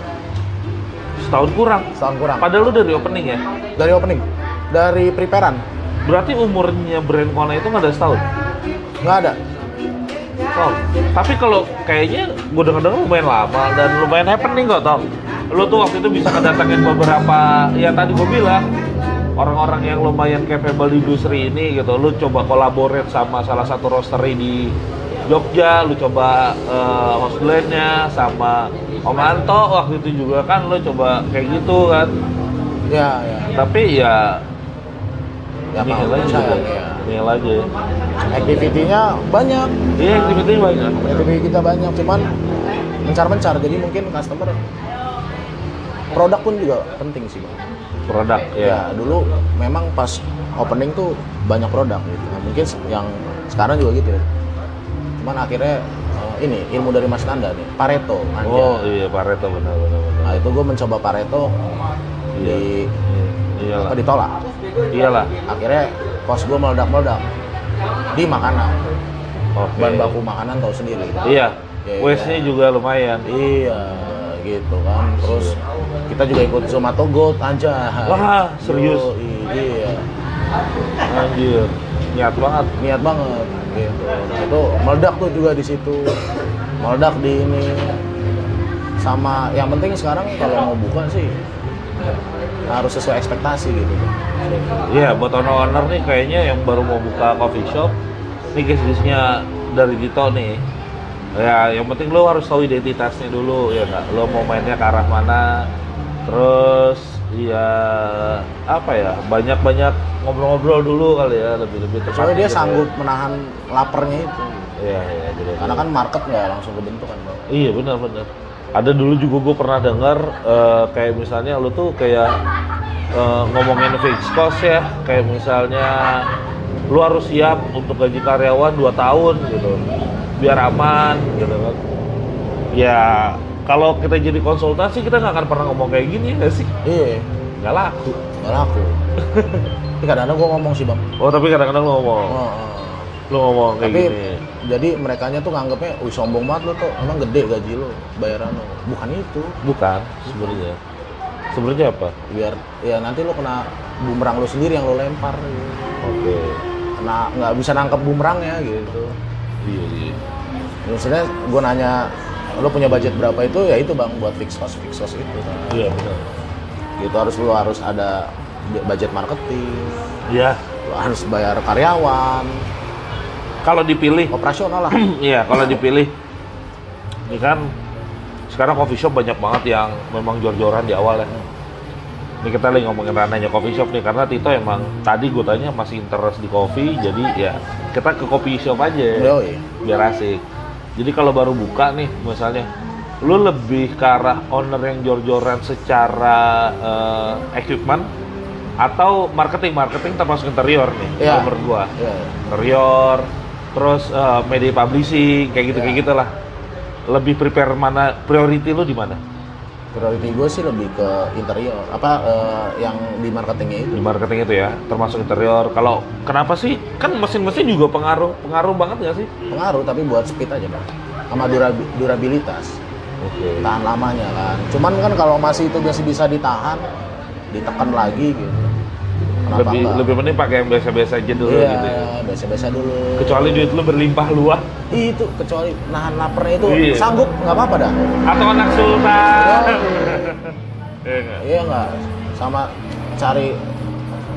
S1: Setahun kurang.
S2: setahun kurang.
S1: Padahal lu dari opening ya.
S2: Dari opening, dari preparean
S1: Berarti umurnya brand Kona itu nggak ada setahun.
S2: nggak ada.
S1: Tom. Tapi kalau kayaknya gue denger-denger lumayan lama dan lumayan happening kok Tom. Lu tuh waktu itu bisa ngedatengin beberapa, ya tadi gue bilang, orang-orang yang lumayan capable di industri ini gitu. Lu coba kolaborate sama salah satu roastery di Jogja, lu coba eh, host blend-nya sama Om Anto waktu itu juga kan lu coba kayak gitu kan.
S2: ya ya
S1: Tapi ya
S2: ya mau
S1: nihil aja
S2: saya
S1: gitu.
S2: ya.
S1: Nihil aja ya.
S2: Activity-nya banyak
S1: Iya, activity banyak.
S2: activity kita banyak cuman mencar-mencar jadi mungkin customer produk pun juga penting sih bang
S1: Produk ya.
S2: ya dulu memang pas opening tuh banyak produk gitu Nah, mungkin se- yang sekarang juga gitu ya cuman akhirnya eh, ini ilmu dari Mas Nanda nih Pareto anjay.
S1: Oh iya Pareto benar benar benar.
S2: nah itu gue mencoba Pareto
S1: Iya.
S2: di
S1: Iya
S2: apa ditolak
S1: Iyalah.
S2: akhirnya kos gue meledak meledak di makanan
S1: Oke.
S2: bahan baku makanan tahu sendiri
S1: Iya.
S2: Iya,
S1: Waste-nya
S2: iya.
S1: juga lumayan.
S2: iya gitu kan terus kita juga ikut Zomato Gold aja
S1: Wah, serius?
S2: iya
S1: Anjir. Niat banget.
S2: niat banget gitu Nah, itu meledak tuh juga di situ meledak di ini sama yang penting sekarang kalau mau buka sih harus sesuai ekspektasi gitu
S1: Iya, buat owner-owner nih kayaknya yang baru mau buka coffee shop, ini bisnisnya dari Dito nih. Ya, yang penting lo harus tahu identitasnya dulu ya nggak. Lo mau mainnya ke arah mana? Terus ya apa ya? Banyak-banyak ngobrol-ngobrol dulu kali ya, lebih-lebih tepat.
S2: soalnya dia
S1: gitu ya.
S2: sanggup menahan laparnya itu
S1: Iya, iya, jadi.
S2: karena kan market nggak langsung kebentuk kan Bang.
S1: Iya benar-benar. Ada dulu juga gue pernah dengar eh, kayak misalnya lu tuh kayak eh, ngomongin fixed cost ya, kayak misalnya lu harus siap untuk gaji karyawan 2 tahun gitu, biar aman gitu kan. Ya kalau kita jadi konsultasi kita nggak akan pernah ngomong kayak gini nggak sih?
S2: iya
S1: Nggak laku.
S2: nggak
S1: *laughs*
S2: laku tapi kadang-kadang gue ngomong sih bang
S1: Oh tapi kadang-kadang lu ngomong,
S2: Oh, oh.
S1: lu ngomong kayak gitu ya.
S2: tapi
S1: gini.
S2: jadi merekanya tuh nganggapnya wih sombong banget lo tuh emang gede gaji lo bayaran lo bukan itu
S1: Bukan sebenarnya. Sebenarnya apa?
S2: biar ya nanti lo kena bumerang lo sendiri yang lo lempar gitu.
S1: Oke.
S2: kena nggak bisa nangkep bumerangnya gitu
S1: Iya, iya.
S2: misalnya gue nanya lo punya budget berapa itu ya itu bang buat fix cost fix cost itu
S1: Iya benar.
S2: gitu harus lo harus ada budget marketing
S1: Iya.
S2: lo harus bayar karyawan
S1: Kalau dipilih *clears throat*
S2: operasional lah
S1: Iya, kalau dipilih ini kan sekarang coffee shop banyak banget yang memang jor-joran di awal ya. Ini kita lagi ngomongin ranahnya coffee shop nih karena Tito emang tadi gue tanya masih interest di coffee jadi ya kita ke coffee shop aja
S2: Yoi.
S1: biar asik. Jadi kalau baru buka nih misalnya lu lebih ke arah owner yang jor-joran secara eh, equipment atau marketing marketing termasuk interior nih
S2: Iya.
S1: nomor dua
S2: ya
S1: interior, terus eh, media publishing, kayak gitu
S2: Ya.
S1: kayak gitulah. Lebih prepare mana priority lu di mana?
S2: priority gue sih lebih ke interior apa eh, yang di marketingnya itu
S1: Di marketing itu ya, termasuk interior. Kalau kenapa sih? Kan mesin-mesin juga pengaruh pengaruh banget nggak sih?
S2: pengaruh tapi buat speed aja bang sama durabi- durabilitas
S1: Oke.
S2: tahan lamanya kan cuman kan kalau masih itu masih bisa ditahan ditekan lagi gitu Kenapa
S1: Lebih
S2: enggak?
S1: lebih mending pakai yang biasa-biasa aja dulu
S2: iya,
S1: gitu. ya.
S2: biasa-biasa dulu
S1: Kecuali duit lu berlimpah luah
S2: itu kecuali nahan laparnya itu
S1: Iya.
S2: sanggup nggak apa-apa dah
S1: atau anak sultan. *laughs* Iya nggak?
S2: iya nggak sama cari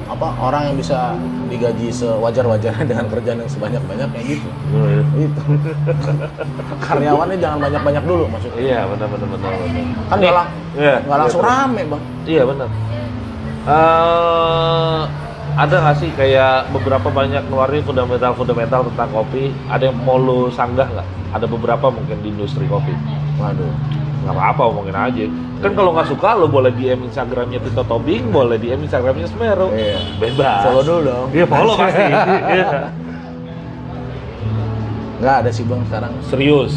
S2: apa orang yang bisa digaji sewajar-wajarnya *laughs* dengan kerjaan yang sebanyak-banyaknya gitu
S1: Iya.
S2: itu karyawannya jangan banyak-banyak dulu maksudnya
S1: Iya, benar benar benar. benar.
S2: kan nggak lang-
S1: Iya,
S2: nggak langsung
S1: iya,
S2: rame bang
S1: Iya benar. Eh ada nggak sih kayak beberapa banyak ngeluarin fundamental fundamental tentang kopi? Ada yang mau lu sanggah nggak? Ada beberapa mungkin di industri kopi.
S2: waduh
S1: Nggak apa-apa mungkin aja. Kan kalau nggak suka lo boleh DM Instagramnya Tito Tobing, boleh DM Instagramnya Smero.
S2: Iya.
S1: Bebas.
S2: Follow dulu dong.
S1: Iya follow pasti. Iya.
S2: nggak ada sih bang sekarang
S1: Serius,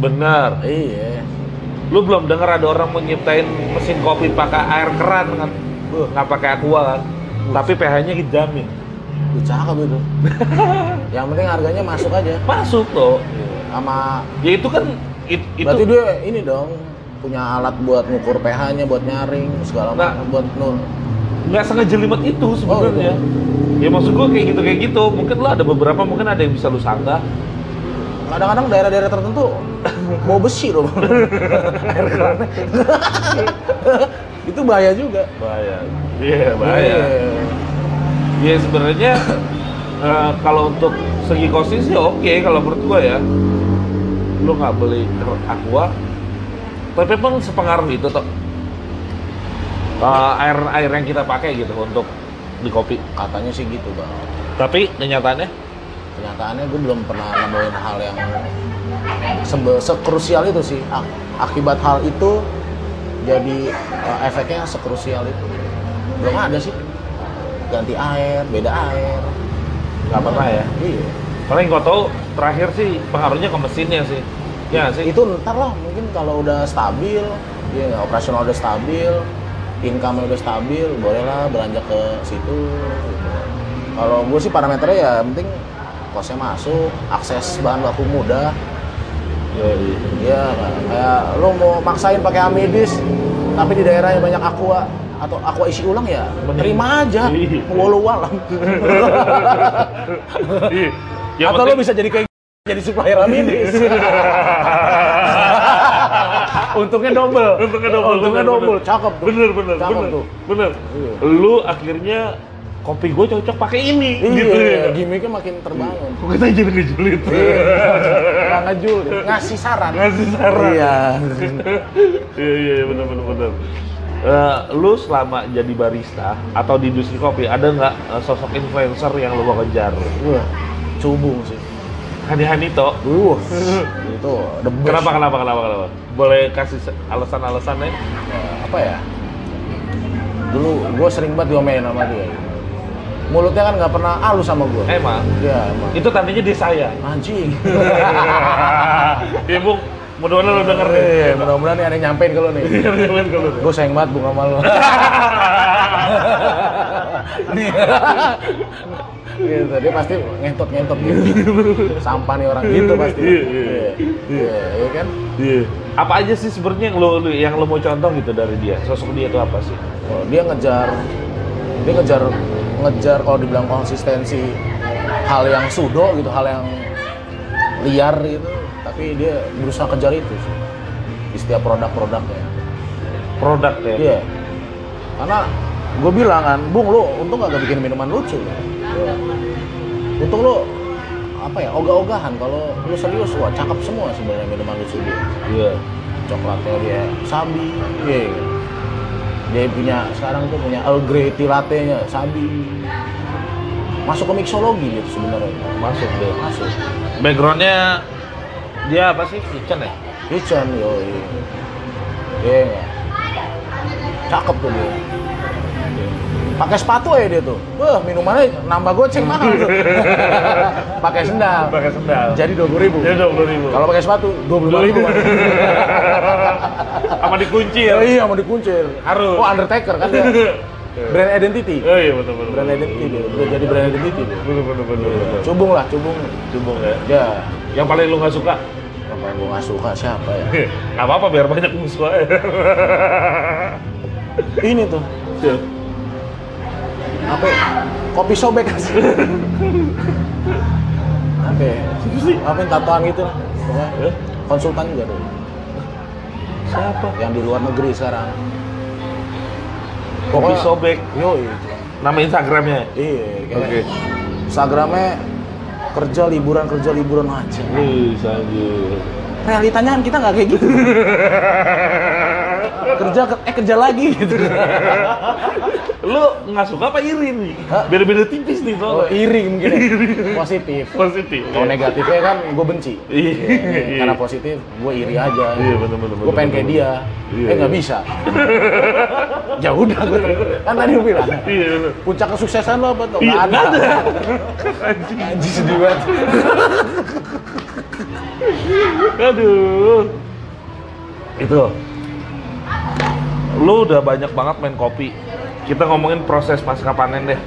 S1: bener.
S2: iya
S1: Lu belum dengar ada orang mau nyiptain mesin kopi pakai air keran kan?
S2: Buh.
S1: Nggak pakai aqua kan? Tapi pH-nya dijamin.
S2: Lu cakep
S1: *laughs*
S2: itu gitu. yang penting harganya masuk aja
S1: Masuk loh.
S2: sama
S1: ya itu kan it- itu
S2: berarti dia ini dong punya alat buat ngukur pH nya buat nyaring segala
S1: Nah.
S2: macam buat nul
S1: nggak sengejelimet itu sebenarnya ya maksud gua kayak gitu kayak gitu mungkin lo ada beberapa mungkin ada yang bisa lu sanggah
S2: kadang-kadang daerah-daerah tertentu mau besi loh bang. Air
S1: *laughs*
S2: kerannya. itu bahaya juga.
S1: bahaya iya bahaya
S2: Iya.
S1: iya sebenarnya eh, kalau untuk segi costing sih oke kalau menurut gua ya lu nggak beli ker- aqua tapi emang sepengaruh itu toh Eh, air air yang kita pakai gitu untuk di kopi
S2: Katanya sih gitu bang.
S1: tapi kenyataannya
S2: Kenyataannya gue belum pernah nemuin hal yang sebe- sekrusial itu sih. Ak- akibat hal itu jadi eh, efeknya sekrusial itu. Belum ada sih. Ganti air, beda air.
S1: nggak pernah ya
S2: Iya.
S1: paling gua tahu terakhir sih pengaruhnya ke mesinnya sih ya nggak sih *laughs*
S2: itu ntar lah mungkin kalau udah stabil ya operasional udah stabil income udah stabil bolehlah beranjak ke situ kalau gue sih parameternya ya yang penting kosnya masuk akses bahan baku mudah
S1: Yoi.
S2: ya kayak lo mau maksain pakai amidis tapi di daerah yang banyak aqua atau aqua isi ulang ya
S1: Mending.
S2: terima aja
S1: Iya.
S2: walau walang
S1: Ih, Iya, yang
S2: atau lo
S1: penting-
S2: bisa jadi kayak jadi supplier amidis untungnya double
S1: *laughs* *laughs* Untungnya double.
S2: untungnya
S1: bener,
S2: double
S1: bener.
S2: cakep tuh.
S1: Bener bener
S2: cakep
S1: bener.
S2: tuh
S1: Bener.
S2: Iya.
S1: Lu akhirnya kopi gue cocok pakai ini. *laughs* Gitu ya.
S2: iya gimmicknya makin terbangun
S1: Kok kita jadi ngejulit?
S2: nggak ngejul ngasih saran
S1: Ngasih saran.
S2: iya
S1: *laughs* Iya iya iya, bener bener bener. Eh, lu selama jadi barista atau di industri kopi ada nggak eh, sosok influencer yang lu mau kejar?
S2: wah cubung sih
S1: Hani Hanito.
S2: Wah, itu the best.
S1: Kenapa kenapa kenapa kenapa? Boleh kasih se- alasan-alasannya?
S2: Eh, apa ya dulu gue sering banget main sama dia mulutnya kan nggak pernah halus sama gue
S1: Emang
S2: iya emang
S1: Eh, itu tandanya di *laughs* saya.
S2: anjing *laughs*
S1: Ibu, mudah-mudahan lu denger *laughs* deh.
S2: Eh, mudah-mudahan nih ada yang nyampein ke lo nih
S1: Mudah-mudahan kalau
S2: gue sayang banget bunga sama lo nih gitu dia pasti ngentot ngentot gitu sampah nih orang gitu pasti
S1: Iya, iya.
S2: iya iya kan
S1: Iya. Apa aja sih sebenarnya yang lo, lo- yang lo mau contoh gitu dari dia? Sosok dia itu apa sih?
S2: Oh, dia ngejar dia ngejar ngejar kalau dibilang konsistensi hal yang sudo gitu hal yang liar gitu tapi dia berusaha kejar itu sih, di setiap produk-produknya
S1: Produk ya.
S2: Iya. Karena gue bilang kan, Bung lu untung gak bikin minuman lucu. Iya. Untung lu apa ya ogah-ogahan kalau lu serius wah cakep semua sebenarnya minuman lucu dia
S1: Iya.
S2: coklatnya dia sabi iya. dia punya sekarang tuh punya Earl Grey tea latte nya sabi masuk ke mixologi gitu sebenarnya
S1: Masuk deh.
S2: masuk
S1: Backgroundnya dia apa sih? Kitchen ya?
S2: kitchen yo iya nggak? cakep tuh dia pakai sepatu aja dia tuh wah minumannya nambah goceng mahal
S1: *laughs*
S2: tuh pakai sendal
S1: Pakai sendal.
S2: jadi dua puluh ribu
S1: Jadi dua puluh ribu.
S2: kalau pakai sepatu dua puluh ribu
S1: Apa dikunci ya?
S2: *laughs* iya iya mau dikuncir
S1: Harus.
S2: oh Undertaker kan dia brand identity
S1: Oh iya betul betul.
S2: brand identity dia udah jadi brand identity dia
S1: Betul betul betul. betul.
S2: cubung lah cubung
S1: Cubung ya.
S2: ya
S1: Yang paling lo nggak suka?
S2: apa yang gue nggak suka siapa ya
S1: Gak apa-apa biar banyak musuh aja. *laughs*
S2: ini tuh
S1: Iya.
S2: apa ya? kopi
S1: *laughs*
S2: sobek sih apa ya? apa yang tatoan gitu lah Pokoknya
S1: Eh?
S2: konsultan juga tuh
S1: Siapa?
S2: yang di luar negeri sekarang
S1: Kopi sobek.
S2: yo itu
S1: Nama Instagramnya.
S2: iya kayak instagramnya kerja liburan kerja liburan aja
S1: Wih, sanjir.
S2: realitanya kan kita nggak kayak
S1: *laughs*
S2: gitu kerja ke- eh kerja
S1: *laughs*
S2: lagi gitu
S1: Lu nggak suka apa iri nih?
S2: Hah?
S1: Beda-beda tipis nih
S2: oh,
S1: soalnya.
S2: iri mungkin ya. positif
S1: Positif.
S2: kalau negatifnya kan gue benci
S1: Iya.
S2: Iya, karena positif gue iri aja
S1: Iya, bener, bener,
S2: gue
S1: bener,
S2: pengen kayak
S1: bener.
S2: dia
S1: Iya,
S2: eh nggak
S1: iya.
S2: bisa *laughs* ya udah gue kan tadi gue bilang
S1: Iya, bener.
S2: puncak kesuksesan lo apa tuh
S1: Iya,
S2: nggak ada
S1: nggak ada.
S2: anjing sedih banget
S1: Aduh. Itu. Lu udah banyak banget main kopi. Kita ngomongin proses pasca panen deh.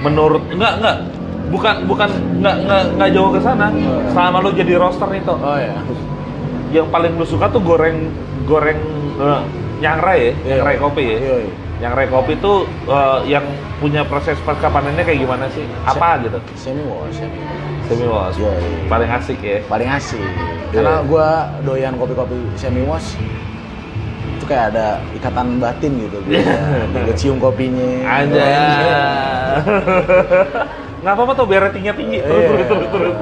S1: Menurut enggak enggak bukan bukan enggak enggak enggak jauh ke sana. Selama lu jadi roster nih Tok.
S2: oh ya
S1: yang paling lu suka tuh goreng goreng eh, nyangrai ya,
S2: Iya.
S1: nyangrai kopi ya.
S2: Iya, iya.
S1: Yang rekopi tuh eh, yang punya proses pasca panennya kayak gimana sih? Apa gitu?
S2: semi wash semi
S1: Semi wash.
S2: Iya.
S1: Paling asik ya.
S2: paling asik karena
S1: Iya.
S2: gua doyan kopi-kopi semi wash itu kayak ada ikatan batin gitu gue
S1: Iya.
S2: cium kopinya Iya.
S1: Aja. *laughs* Nggak apa-apa tuh biar ratingnya tinggi. Terus
S2: Iya.
S1: terus terus terus.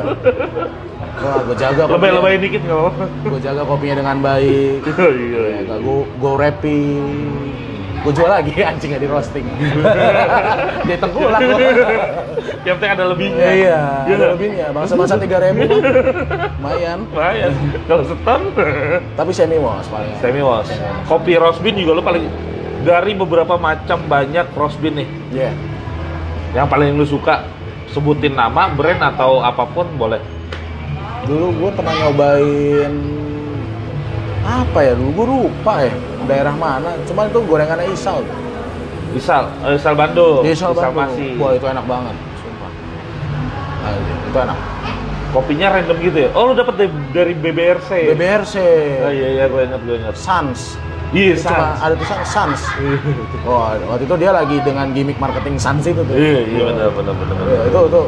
S2: wah gue jaga
S1: Lebay
S2: kopinya
S1: lebayin dikit nggak
S2: *laughs*
S1: apa-apa.
S2: gue jaga kopinya dengan baik
S1: Iya, iya.
S2: ya, gue gue wrapping gue jual lagi *laughs* anjing nggak di roasting dia tengkulak loh
S1: Yang penting ada lebihnya.
S2: iya
S1: Iya.
S2: ada lebihnya bangsa-bangsa tiga ribu lumayan
S1: Lumayan. Kalau setan.
S2: tapi semi wash paling
S1: Semi wash. Kopi roast bean juga lo paling dari beberapa macam banyak roast bean nih.
S2: ya
S1: Yang paling lu suka sebutin nama, brand atau apapun boleh.
S2: dulu gue pernah nyobain apa ya dulu gue lupa ya daerah mana cuman itu gorengannya isal
S1: Misal, eh, misal Bandung,
S2: Di isal Iya, Bandung.
S1: Masih.
S2: wah itu enak banget sumpah Nah, itu enak
S1: Kopinya random gitu ya. Oh, lu dapat dari BBRC.
S2: BBRC
S1: Oh iya iya gue ingat gue ingat.
S2: Sans
S1: Iya,
S2: Itu cuma
S1: Sans.
S2: ada tulisan Sans wah waktu itu dia lagi dengan gimmick marketing Sans itu tuh
S1: Iya iya benar benar benar.
S2: Iya, itu itu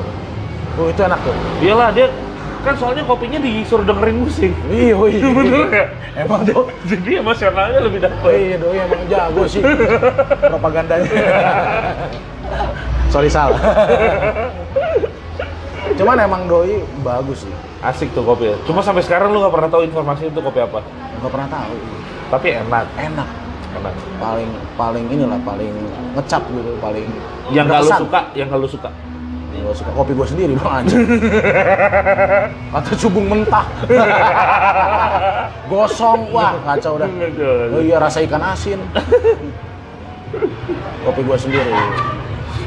S2: Tuh, itu enak tuh
S1: Iyalah dia kan soalnya kopinya disuruh dengerin musik. *laughs*
S2: Iya, iya,
S1: Bener ya?
S2: Emang tuh,
S1: Jadi emosionalnya lebih dapet.
S2: iya, doi emang jago sih propagandanya. Sorry salah. Cuman emang doi bagus sih,
S1: Asik tuh kopi. ya. Cuma sampai sekarang lu nggak pernah tahu informasi itu kopi apa.
S2: nggak pernah tahu.
S1: Tapi enak,
S2: Enak,
S1: enak.
S2: paling paling inilah paling ngecap gitu, paling
S1: Yang nggak lu
S2: berkesan.
S1: suka, yang nggak lu suka.
S2: Yang nggak suka kopi gue sendiri bang aja. Kata cubung mentah, gosong, wah kacau dah. Oh iya rasa ikan asin. Kopi gua sendiri.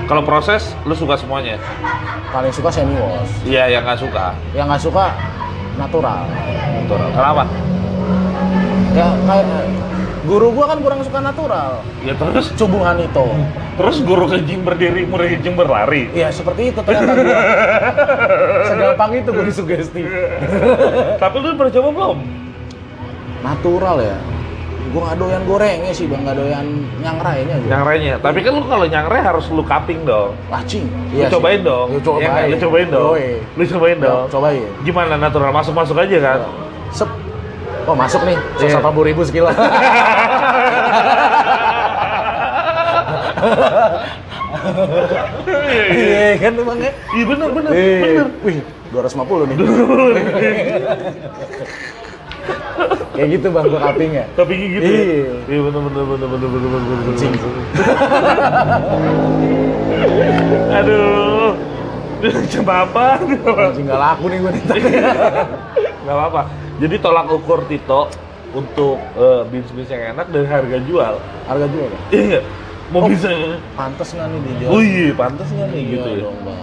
S1: Kalau proses, lu suka semuanya.
S2: Paling suka semi wash.
S1: Iya, yang nggak suka.
S2: Yang nggak suka natural.
S1: Kenapa?
S2: Ya kayak guru gua kan kurang suka natural.
S1: Ya terus,
S2: Cubung Hanito.
S1: terus guru ke gym berdiri, murid ke gym berlari.
S2: Iya seperti itu ternyata gua. Segampang itu gua disugesti.
S1: Tapi lu pernah coba belum?
S2: Natural ya. Gua nggak doyan gorengnya sih bang, nggak doyan nyangrainya gua.
S1: Nyangrainya. Tapi kan lu kalau nyangrai harus lu cupping dong.
S2: Wacing.
S1: Lu cobain dong.
S2: Iya
S1: Iya
S2: Lu
S1: nggak?
S2: cobain.
S1: Lu cobain dong.
S2: Yoi.
S1: Lu cobain
S2: Ya,
S1: dong.
S2: Cobain.
S1: Gimana natural? Masuk-masuk aja kan?
S2: Sep. Oh masuk nih,
S1: Iya.
S2: seratus ribu sekilo.
S1: *laughs* Iya, iya.
S2: Iya kan tuh bang ya?
S1: Iya bener, bener,
S2: Eh, *laughs*
S1: bener.
S2: Wih, 250 nih. Kayak gitu bang, gua cupping ya.
S1: Tapi gitu ya?
S2: Iya.
S1: Iya bener, bener, bener, bener, bener, bener, bener, bener.
S2: Anjing.
S1: Aduh. Coba apa?
S2: Anjing gak laku nih gue nih.
S1: *laughs* Iya. Gak apa-apa. Jadi tolak ukur Tito untuk eh, beans-beans yang enak dari harga jual.
S2: Harga juga kan?
S1: Iya nggak? Mau
S2: Oh.
S1: bisa.
S2: Pantes nggak nih dia?
S1: Oh iya, pantas nggak nih gitu
S2: Iya
S1: ya?
S2: dong bang.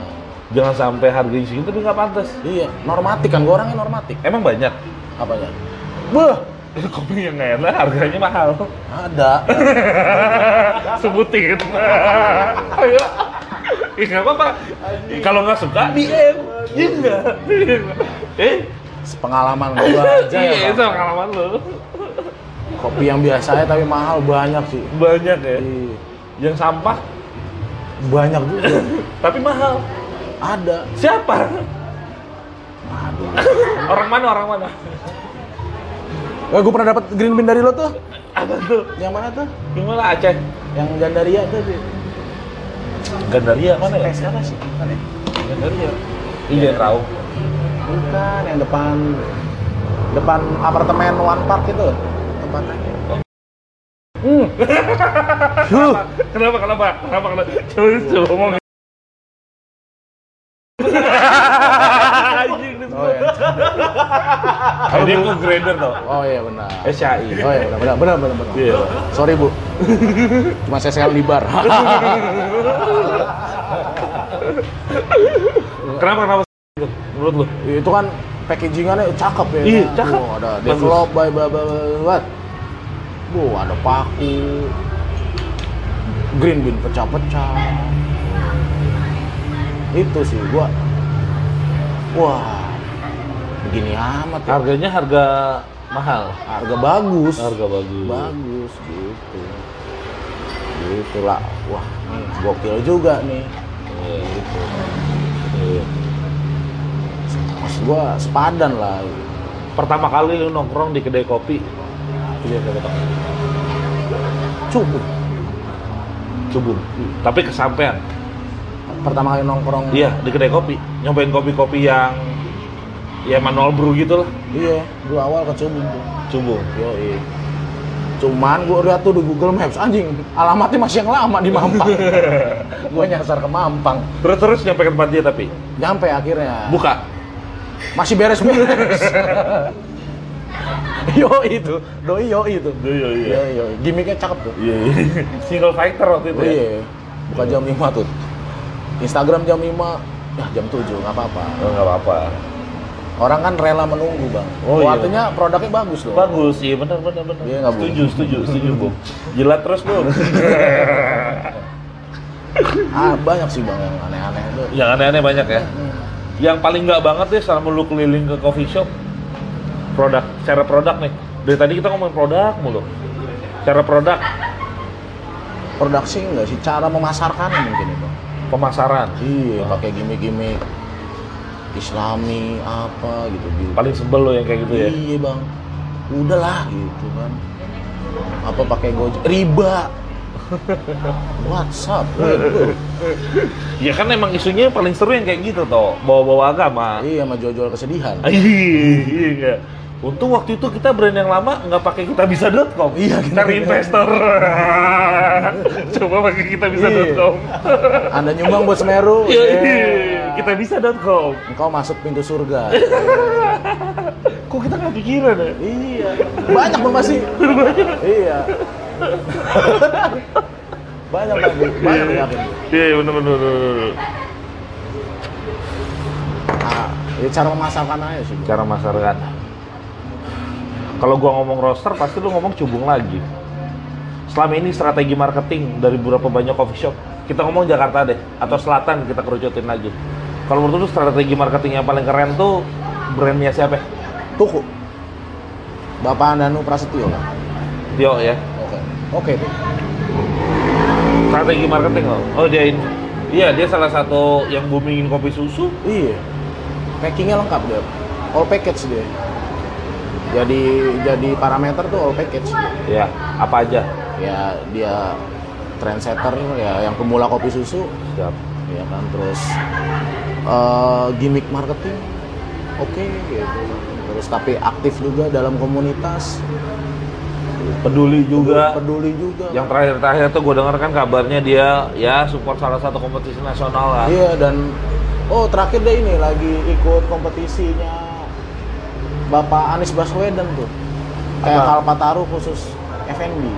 S1: Jangan sampai harganya segitu tapi nggak pantas.
S2: Iya, normatif kan, gue orangnya normatif. ya?
S1: Emang banyak.
S2: Apanya? Beuh,
S1: *laughs* Kopi yang nggak enak harganya
S2: *laughs*
S1: mahal. *laughs*
S2: ada. *laughs*
S1: Sebutin. Ayo. Ya nggak apa-apa. Kalau nggak suka DM. Iya nggak?
S2: *laughs*
S1: Eh,
S2: Sepengalaman gue aja
S1: iya
S2: ya
S1: itu
S2: bang.
S1: pengalaman lo.
S2: Kopi yang biasanya tapi mahal banyak sih.
S1: Banyak ya.
S2: Iya,
S1: Yang sampah
S2: Banyak juga.
S1: tapi mahal.
S2: Ada.
S1: Siapa?
S2: Aduh.
S1: Orang mana? Orang mana?
S2: Eh, gue pernah dapat green bean dari lo tuh.
S1: Apa tuh?
S2: Yang mana tuh?
S1: Gimana Aceh?
S2: Yang Gandaria tuh. Di.
S1: Gandaria mana ya?
S2: Pes apa sih? Bukan ya?
S1: Gandaria. Iya, tahu.
S2: Bukan, yang depan depan apartemen One Park itu. Tempatnya. Hmm. Huh.
S1: Kenapa? Kenapa? Kenapa? Kenapa? Coba coba ngomong. Anjing, ini
S2: Oh iya.
S1: Eh, dia ke grader tau.
S2: Oh iya benar.
S1: SCI.
S2: Oh iya benar benar benar benar. benar.
S1: Eh, Iya.
S2: Sorry bu, cuma saya sekali di bar.
S1: *laughs* Kenapa? Kenapa? Menurut lu?
S2: itu kan packagingannya cakep ya.
S1: Iya, cakep.
S2: Wah, ada
S1: Bagus.
S2: develop by blah blah blah, blah. Bu, ada paku. Green bean pecah-pecah. Itu sih gua. Wah. Begini amat ya.
S1: Harganya harga mahal.
S2: Harga bagus.
S1: Harga bagus.
S2: bagus gitu. gitu lah wah ini gokil juga nih
S1: Iya, gitu. Iya.
S2: maksud gua sepadan lah gitu.
S1: Pertama kali lu nongkrong di kedai kopi,
S2: Iya, kayak gitu. cukup
S1: cubung. Tapi kesampean.
S2: pertama kali nongkrong
S1: Iya, di kedai kopi. Nyobain kopi-kopi yang ya manual brew gitu lah,
S2: iya gua awal ke Cubung tuh
S1: cubung.
S2: yo cuman gua lihat tuh di Google Maps anjing alamatnya masih yang lama di Mampang gua nyasar ke Mampang
S1: Terus terus nyampe ke tempat dia tapi
S2: nyampe akhirnya
S1: buka.
S2: masih *laughs* beres-beres yo itu doi yo itu
S1: Iya
S2: yo yo gimmicknya cakep tuh
S1: Iya. Single fighter waktu itu.
S2: Oh
S1: ya?
S2: iya, buka jam 5 tuh. Instagram jam 5, ya jam 7 nggak apa-apa.
S1: Oh, nggak apa-apa.
S2: Orang kan rela menunggu bang.
S1: Oh,
S2: Oh,
S1: iya.
S2: Artinya produknya bagus loh.
S1: Bagus, iya benar benar benar.
S2: Iya, nggak, Bu?
S1: setuju, setuju, setuju, *laughs* Bu. Jilat terus, *laughs* Bu.
S2: Ah banyak sih bang yang aneh-aneh tuh.
S1: yang aneh-aneh banyak ya.
S2: Hmm.
S1: Yang paling nggak banget deh selama lu keliling ke coffee shop produk, cara produk nih. Dari tadi kita ngomongin produk mulu. Cara produk,
S2: Produk sih nggak sih, cara memasarkan mungkin ya bang.
S1: pemasaran.
S2: Iya,
S1: Ah.
S2: pakai gimmick-gimmick Islami apa gitu. gitu.
S1: Paling sebel lo yang kayak gitu ya.
S2: Iya bang, udahlah gitu kan. Apa pakai gojek? Riba. *laughs* WhatsApp. waduh.
S1: Ya kan emang isunya paling seru yang kayak gitu toh, bawa-bawa agama.
S2: Iya, sama jual-jual kesedihan.
S1: Iya, iya nggak? Untung waktu itu kita brand yang lama nggak pakai kita bisa.com.
S2: Iya, kita-
S1: cari
S2: *laughs*
S1: investor. Coba pakai kita bisa.com.
S2: Anda nyumbang buat Semeru.
S1: Iya,
S2: Yeah.
S1: kita bisa.com.
S2: Engkau masuk pintu surga.
S1: Kok kita nggak pikiran ya?
S2: iya. Banyak bang masih. iya. banyak lagi. Banyak
S1: Iya,
S2: yakin.
S1: Iya, benar benar.
S2: Nah, ya cara memasarkan aja sih. Bang.
S1: Cara masyarakat. Kalau gua ngomong roster, pasti lu ngomong cubung lagi. Selama ini strategi marketing dari beberapa banyak coffee shop, kita ngomong Jakarta deh, atau Selatan kita kerucutin lagi. Kalau menurut lu strategi marketing yang paling keren tuh brandnya siapa? ya?
S2: Tuku. Bapak Andanu Prasetyo lah.
S1: Tio ya.
S2: Oke. Oke tuh.
S1: Strategi marketing loh. Oh dia ini. Iya dia salah satu yang boomingin kopi susu.
S2: Iya. Packingnya lengkap deh. All package dia. Jadi jadi parameter tuh all package.
S1: Ya apa aja.
S2: Ya dia trendsetter ya yang pemula kopi susu
S1: Siap.
S2: ya kan terus eh, gimmick marketing oke gitu terus tapi aktif juga dalam komunitas
S1: Peduli juga.
S2: peduli juga
S1: Yang terakhir-terakhir tuh gue denger kan kabarnya dia ya support salah satu kompetisi nasional lah.
S2: iya dan oh terakhir deh ini lagi ikut kompetisinya Bapak Anies Baswedan tuh kayak
S1: Apa?
S2: Kalpataru khusus FNB